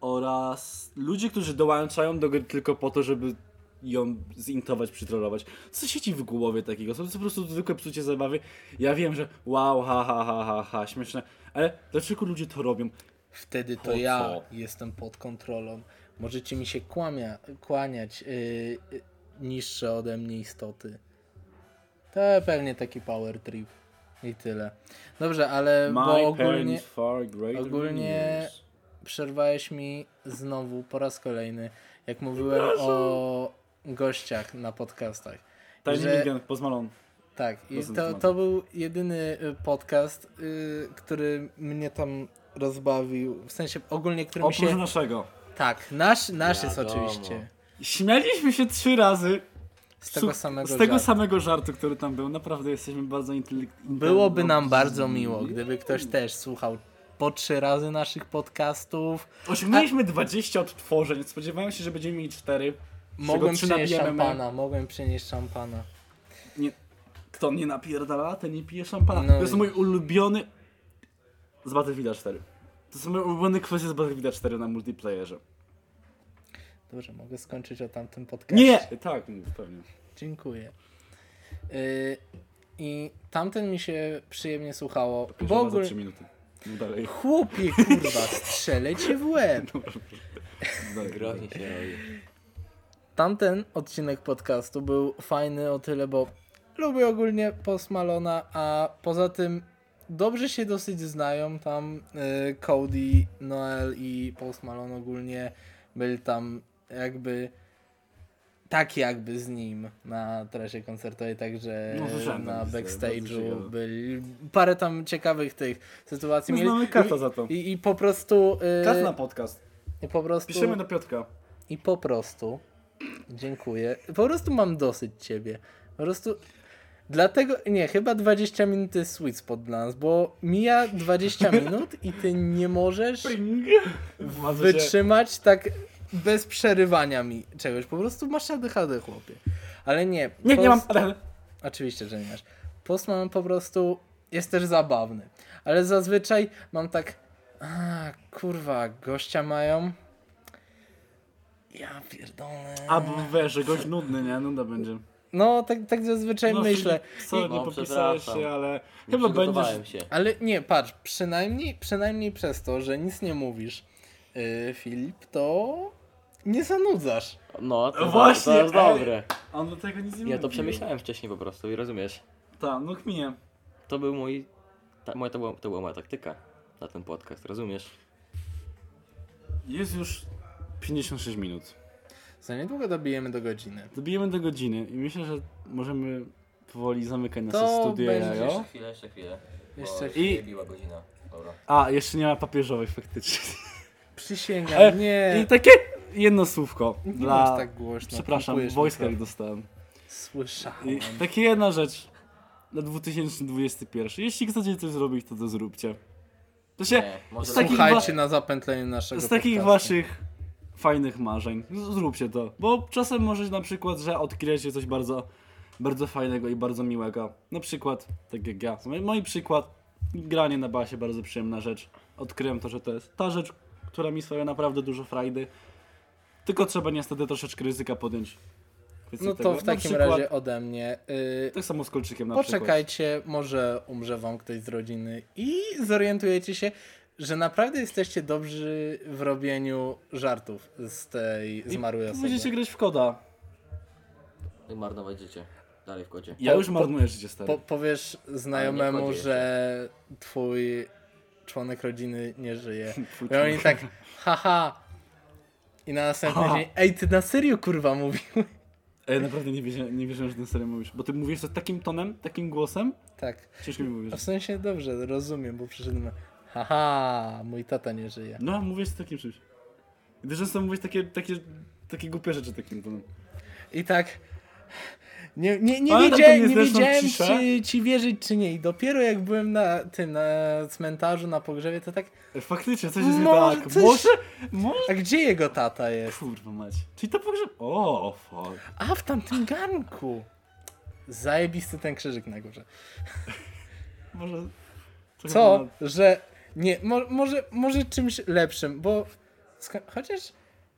Speaker 2: Oraz ludzie, którzy dołączają do gry tylko po to, żeby ją zintować, przytrollować. Co siedzi w głowie takiego? To jest po prostu zwykłe psucie zabawy. Ja wiem, że wow, ha, ha, ha, ha, ha, śmieszne. Ale dlaczego ludzie to robią?
Speaker 1: Wtedy to
Speaker 2: Po
Speaker 1: ja
Speaker 2: co?
Speaker 1: jestem pod kontrolą. Możecie mi się kłamia, kłaniać yy, yy, niższe ode mnie istoty. To pewnie taki power trip. I tyle. Dobrze, ale E, bo
Speaker 2: My
Speaker 1: ogólnie
Speaker 2: parents far greater than
Speaker 1: ogólnie-
Speaker 2: yours.
Speaker 1: przerwałeś mi znowu po raz kolejny, jak mówiłem o gościach na podcastach.
Speaker 2: Tajny
Speaker 1: że-
Speaker 2: Minigun, pozmalon.
Speaker 1: Tak, i
Speaker 2: Dosyć
Speaker 1: to,
Speaker 2: temat.
Speaker 1: to był jedyny y, podcast, y, który mnie tam rozbawił. W sensie ogólnie, który mi
Speaker 2: Oprócz
Speaker 1: się.
Speaker 2: naszego.
Speaker 1: Tak, nasz, nasz jest
Speaker 3: Wiadomo.
Speaker 1: oczywiście.
Speaker 2: Śmialiśmy się trzy razy
Speaker 1: Z tego
Speaker 2: Su-
Speaker 1: samego.
Speaker 2: z tego
Speaker 1: żartu.
Speaker 2: samego żartu, który tam był. Naprawdę jesteśmy bardzo inteligentni.
Speaker 1: Byłoby nam bardzo miło, gdyby ktoś też słuchał po trzy razy naszych podcastów.
Speaker 2: Osiągnęliśmy 20 odtworzeń. Spodziewałem się, że będziemy mieli 4.
Speaker 1: Mogłem
Speaker 2: trzy
Speaker 1: przynieść
Speaker 2: nabijemy.
Speaker 1: szampana, mogłem przynieść szampana.
Speaker 2: Nie. kto mnie napierdala, ten nie pije szampana.
Speaker 1: No
Speaker 2: to jest
Speaker 1: i-
Speaker 2: mój ulubiony z Battlefielda 4. To są moje ulubione kwestie z Battlefielda 4 na multiplayerze.
Speaker 1: Dobrze, mogę skończyć o tamtym podcaście.
Speaker 2: Nie! Tak, mów, pewnie.
Speaker 1: Dziękuję. Y, I tamten mi się przyjemnie słuchało. W
Speaker 2: Pierwsza raz za
Speaker 1: ogóle...
Speaker 2: 3 minuty. No dalej,
Speaker 1: Chłopie, kurwa, strzelę cię w łeb.
Speaker 2: no dalej.
Speaker 3: Groźnie się robi.
Speaker 1: Tamten odcinek podcastu był fajny o tyle, bo lubię ogólnie posmalona, a poza tym dobrze się dosyć znają tam y, Cody, Noel i Post Malone ogólnie byli tam jakby tak jakby z nim na trasie koncertowej, także
Speaker 2: No, słyszałem
Speaker 1: na
Speaker 2: tam, że bardzo ciekawe.
Speaker 1: backstage'u byli parę tam ciekawych tych sytuacji.
Speaker 2: My
Speaker 1: mieli.
Speaker 2: znamy Kata za to.
Speaker 1: I, I po prostu... y,
Speaker 2: Czas na podcast.
Speaker 1: i po prostu...
Speaker 2: Piszemy do Piotrka.
Speaker 1: I po prostu. Dziękuję. Po prostu mam dosyć ciebie. Po prostu. Dlatego. Nie, chyba 20 minut jest sweet spot dla nas, bo mija 20 minut i ty nie możesz wytrzymać tak bez przerywania mi czegoś. Po prostu masz ADHD, chłopie. Ale nie.
Speaker 2: Nie, nie mam.
Speaker 1: post- Oczywiście, że nie masz. Post mam po prostu. Jest też zabawny. Ale zazwyczaj mam tak. A, kurwa, gościa mają. Ja pierdolę.
Speaker 2: A bo wiesz, że gość nudny, nie? Nuda będzie.
Speaker 1: No, tak, tak zazwyczaj
Speaker 2: No,
Speaker 1: myślę.
Speaker 2: Filip, Sorry,
Speaker 3: No,
Speaker 2: nie popisałeś
Speaker 3: przepraszam.
Speaker 2: się, ale
Speaker 3: Nie
Speaker 2: chyba
Speaker 3: przygotowałem
Speaker 2: będziesz.
Speaker 3: się.
Speaker 1: Ale nie, patrz, przynajmniej, przynajmniej przez to, że nic nie mówisz, yy, Filip, to nie zanudzasz.
Speaker 3: No, to,
Speaker 2: Właśnie,
Speaker 3: to jest
Speaker 2: ej.
Speaker 3: dobre.
Speaker 2: On do tego nic nie
Speaker 3: Ja to
Speaker 2: mówił.
Speaker 3: przemyślałem wcześniej po prostu i rozumiesz.
Speaker 2: Tak, no kminie.
Speaker 3: To był mój. Ta, moja, to, była, to była moja taktyka na ten podcast, rozumiesz?
Speaker 2: Jest już 56 minut.
Speaker 1: Za niedługo dobijemy do godziny.
Speaker 2: Dobijemy do godziny i myślę, że możemy powoli zamykać nasze
Speaker 1: To
Speaker 2: studio
Speaker 1: będzie-
Speaker 2: jajo.
Speaker 3: chwilę, jeszcze chwilę.
Speaker 1: Jeszcze
Speaker 2: I- się
Speaker 3: biła godzina. Dobra.
Speaker 2: A, jeszcze nie ma papieżowych faktycznie.
Speaker 1: Przysięgam,
Speaker 2: E,
Speaker 1: nie.
Speaker 2: I takie jedno słówko
Speaker 1: nie
Speaker 2: dla...
Speaker 1: mów tak głośno.
Speaker 2: Przepraszam,
Speaker 1: kupujesz
Speaker 2: w wojskach
Speaker 1: mikrofon.
Speaker 2: dostałem.
Speaker 1: Słyszałem.
Speaker 2: I takie jedna rzecz na 2021. Jeśli chcecie coś zrobić, to to zróbcie. To się
Speaker 3: Nie, może
Speaker 2: z takich, wa-
Speaker 1: Słuchajcie na zapętlenie naszego
Speaker 2: z takich
Speaker 1: podcastu.
Speaker 2: waszych fajnych marzeń. Z- Zróbcie to. Bo czasem może na przykład, że odkryjecie coś bardzo, bardzo fajnego i bardzo miłego. Na przykład, tak jak ja. Mój, mój przykład, granie na basie, bardzo przyjemna rzecz. Odkryłem to, że to jest ta rzecz, która mi sprawia naprawdę dużo frajdy. Tylko trzeba niestety troszeczkę ryzyka podjąć. Więc
Speaker 1: No
Speaker 2: tego-
Speaker 1: to w
Speaker 2: na
Speaker 1: takim
Speaker 2: przykład-
Speaker 1: razie ode mnie. Yy,
Speaker 2: Tak samo z kolczykiem na przykład.
Speaker 1: Poczekajcie, może umrze wam ktoś z rodziny i zorientujecie się, że naprawdę jesteście dobrzy w robieniu żartów z tej zmarłej
Speaker 2: I
Speaker 1: osoby.
Speaker 2: Będziecie grać w koda.
Speaker 3: I tak marnować życie. Dalej w kodzie.
Speaker 2: Ja
Speaker 1: Po-
Speaker 2: już
Speaker 1: po-
Speaker 2: marnuję życie stary.
Speaker 1: Po, powiesz
Speaker 3: Ale nie
Speaker 1: znajomemu,
Speaker 3: wchodzi
Speaker 1: że twój członek rodziny nie żyje.
Speaker 2: Twój
Speaker 1: I oni
Speaker 2: członek.
Speaker 1: tak, haha. I na następny
Speaker 2: Ha.
Speaker 1: dzień, ej, ty na serio kurwa mówił.
Speaker 2: Ej, naprawdę nie wierzyłem, nie wierzyłem, że ten serio mówisz. Bo ty mówisz to takim tonem, takim głosem.
Speaker 1: Tak.
Speaker 2: Ciężko mi
Speaker 1: A w
Speaker 2: mówisz.
Speaker 1: sensie dobrze, rozumiem, bo przyszedłem, haha, mój tata nie żyje.
Speaker 2: No, mówisz z takim czymś. Gdy często mówisz takie, takie, takie głupie rzeczy takim tonem.
Speaker 1: I tak. Nie, nie, nie,
Speaker 2: Ale
Speaker 1: wiedziałem,
Speaker 2: taką
Speaker 1: nie
Speaker 2: niezręczną
Speaker 1: wiedziałem
Speaker 2: ciszę.
Speaker 1: czy ci wierzyć, czy nie. I dopiero jak byłem na tym, na cmentarzu, na pogrzebie, to tak.
Speaker 2: Ej, E, Faktycznie, coś jest nie
Speaker 1: Może
Speaker 2: tak.
Speaker 1: coś-
Speaker 2: Może, może...
Speaker 1: A gdzie jego tata jest?
Speaker 2: Kurwa mać. Czyli to pogrzeb... O, fuck.
Speaker 1: A w tamtym garnku! Zajebisty ten krzyżyk na górze.
Speaker 2: Może... trochę
Speaker 1: Co,
Speaker 2: ponad-
Speaker 1: że. Nie, mo, może, może czymś lepszym, bo. sko- Chociaż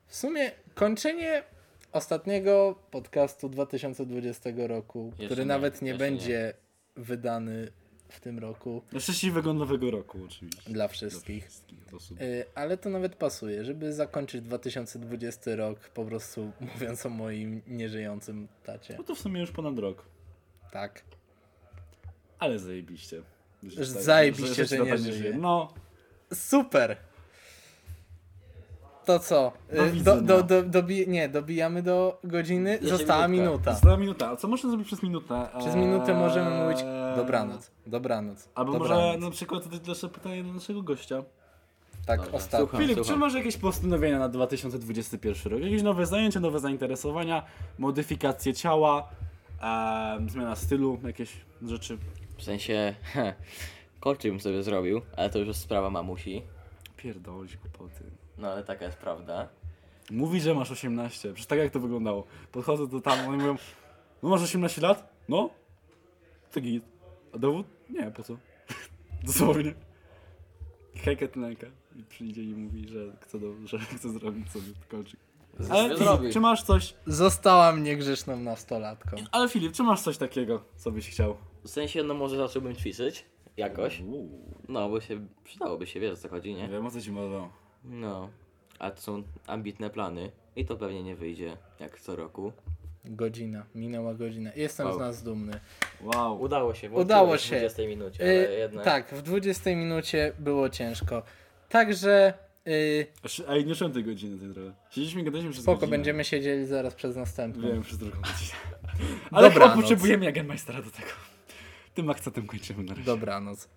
Speaker 1: w sumie kończenie ostatniego podcastu 2020 roku,
Speaker 3: Jeszcze
Speaker 1: który
Speaker 3: nie,
Speaker 1: nawet nie
Speaker 3: jeszcze nie.
Speaker 1: będzie wydany w tym roku
Speaker 2: No, Szczęśliwego nowego roku oczywiście.
Speaker 1: dla wszystkich.
Speaker 2: Wszystkich osób.
Speaker 1: Y, Ale to nawet pasuje, żeby zakończyć 2020 rok po prostu mówiąc o moim nieżyjącym tacie.
Speaker 2: No to w sumie już ponad rok.
Speaker 1: Tak.
Speaker 2: Ale zajebiście. tak-
Speaker 1: Że zajebiście, że
Speaker 2: ci na
Speaker 1: nie
Speaker 2: pewno
Speaker 1: żyje.
Speaker 2: No,
Speaker 1: Super! To co?
Speaker 2: Do
Speaker 1: Y, Do,
Speaker 2: widzenia.
Speaker 1: do, do, dobi- nie, dobijamy do godziny.
Speaker 3: Jeszcze
Speaker 1: Została
Speaker 3: minutka.
Speaker 1: minuta.
Speaker 2: Została minuta. A co można zrobić przez minutę?
Speaker 1: Tak. Przez
Speaker 2: Eee,
Speaker 1: minutę możemy mówić dobranoc, dobranoc,
Speaker 2: Albo może no-
Speaker 1: dobranoc.
Speaker 2: na przykład zadać nasze pytanie do naszego gościa.
Speaker 1: Tak,
Speaker 3: Dobra,
Speaker 1: ostatnio.
Speaker 3: słucham.
Speaker 2: Filip, czy masz jakieś postanowienia na 2021 rok? Jakieś nowe zajęcia, nowe zainteresowania, modyfikacje ciała, em, zmiana stylu, jakieś rzeczy?
Speaker 3: W sensie, kolczy bym sobie zrobił, ale to już jest sprawa mamusi.
Speaker 2: Pierdolić głupoty.
Speaker 3: No ale taka jest prawda.
Speaker 2: Mówi, że masz 18. Przecież tak jak to wyglądało. Podchodzę do tam, oni mówią, no masz 18 lat? No? to git. A dowód? Nie, po co? Dosłownie. Hejka tlenka i przyjdzie i mówi, że chce, do, że chce zrobić sobie kolczyk. Ale Filip,
Speaker 4: zrobi.
Speaker 2: czy masz coś,
Speaker 1: Zostałam niegrzeczną nastolatką.
Speaker 2: ale Filip, czy masz coś takiego, co byś chciał?
Speaker 3: W sensie, no może zacząłbym ćwiczyć jakoś.
Speaker 2: Uuu,
Speaker 3: No, bo się przydałoby się, wiesz o co chodzi,
Speaker 2: nie
Speaker 3: nie?
Speaker 2: wiem, o co ci mowa.
Speaker 3: No, a to są ambitne plany i to pewnie nie wyjdzie jak co roku.
Speaker 1: Godzina, minęła godzina. Jestem
Speaker 3: Wow.
Speaker 1: z nas dumny.
Speaker 2: Wow.
Speaker 3: Udało się, bo
Speaker 1: Udało
Speaker 3: w
Speaker 1: się.
Speaker 3: 20 minucie,
Speaker 1: Y,
Speaker 3: ale jednak.
Speaker 1: Tak, w 20 minucie było ciężko. Także y,
Speaker 2: Aż- Znaczy, Ej, nie szłem tej godziny tej trochę. Siedzieliśmy i gadaliśmy przez
Speaker 1: spoko,
Speaker 2: godzinę.
Speaker 1: będziemy siedzieli zaraz przez następną.
Speaker 2: Wiem, przez drugą godzinę. Ale chyba
Speaker 1: Dobranoc.
Speaker 2: potrzebujemy Jagermeistera do tego. Tym akcentem kończymy na razie.
Speaker 1: Dobranoc.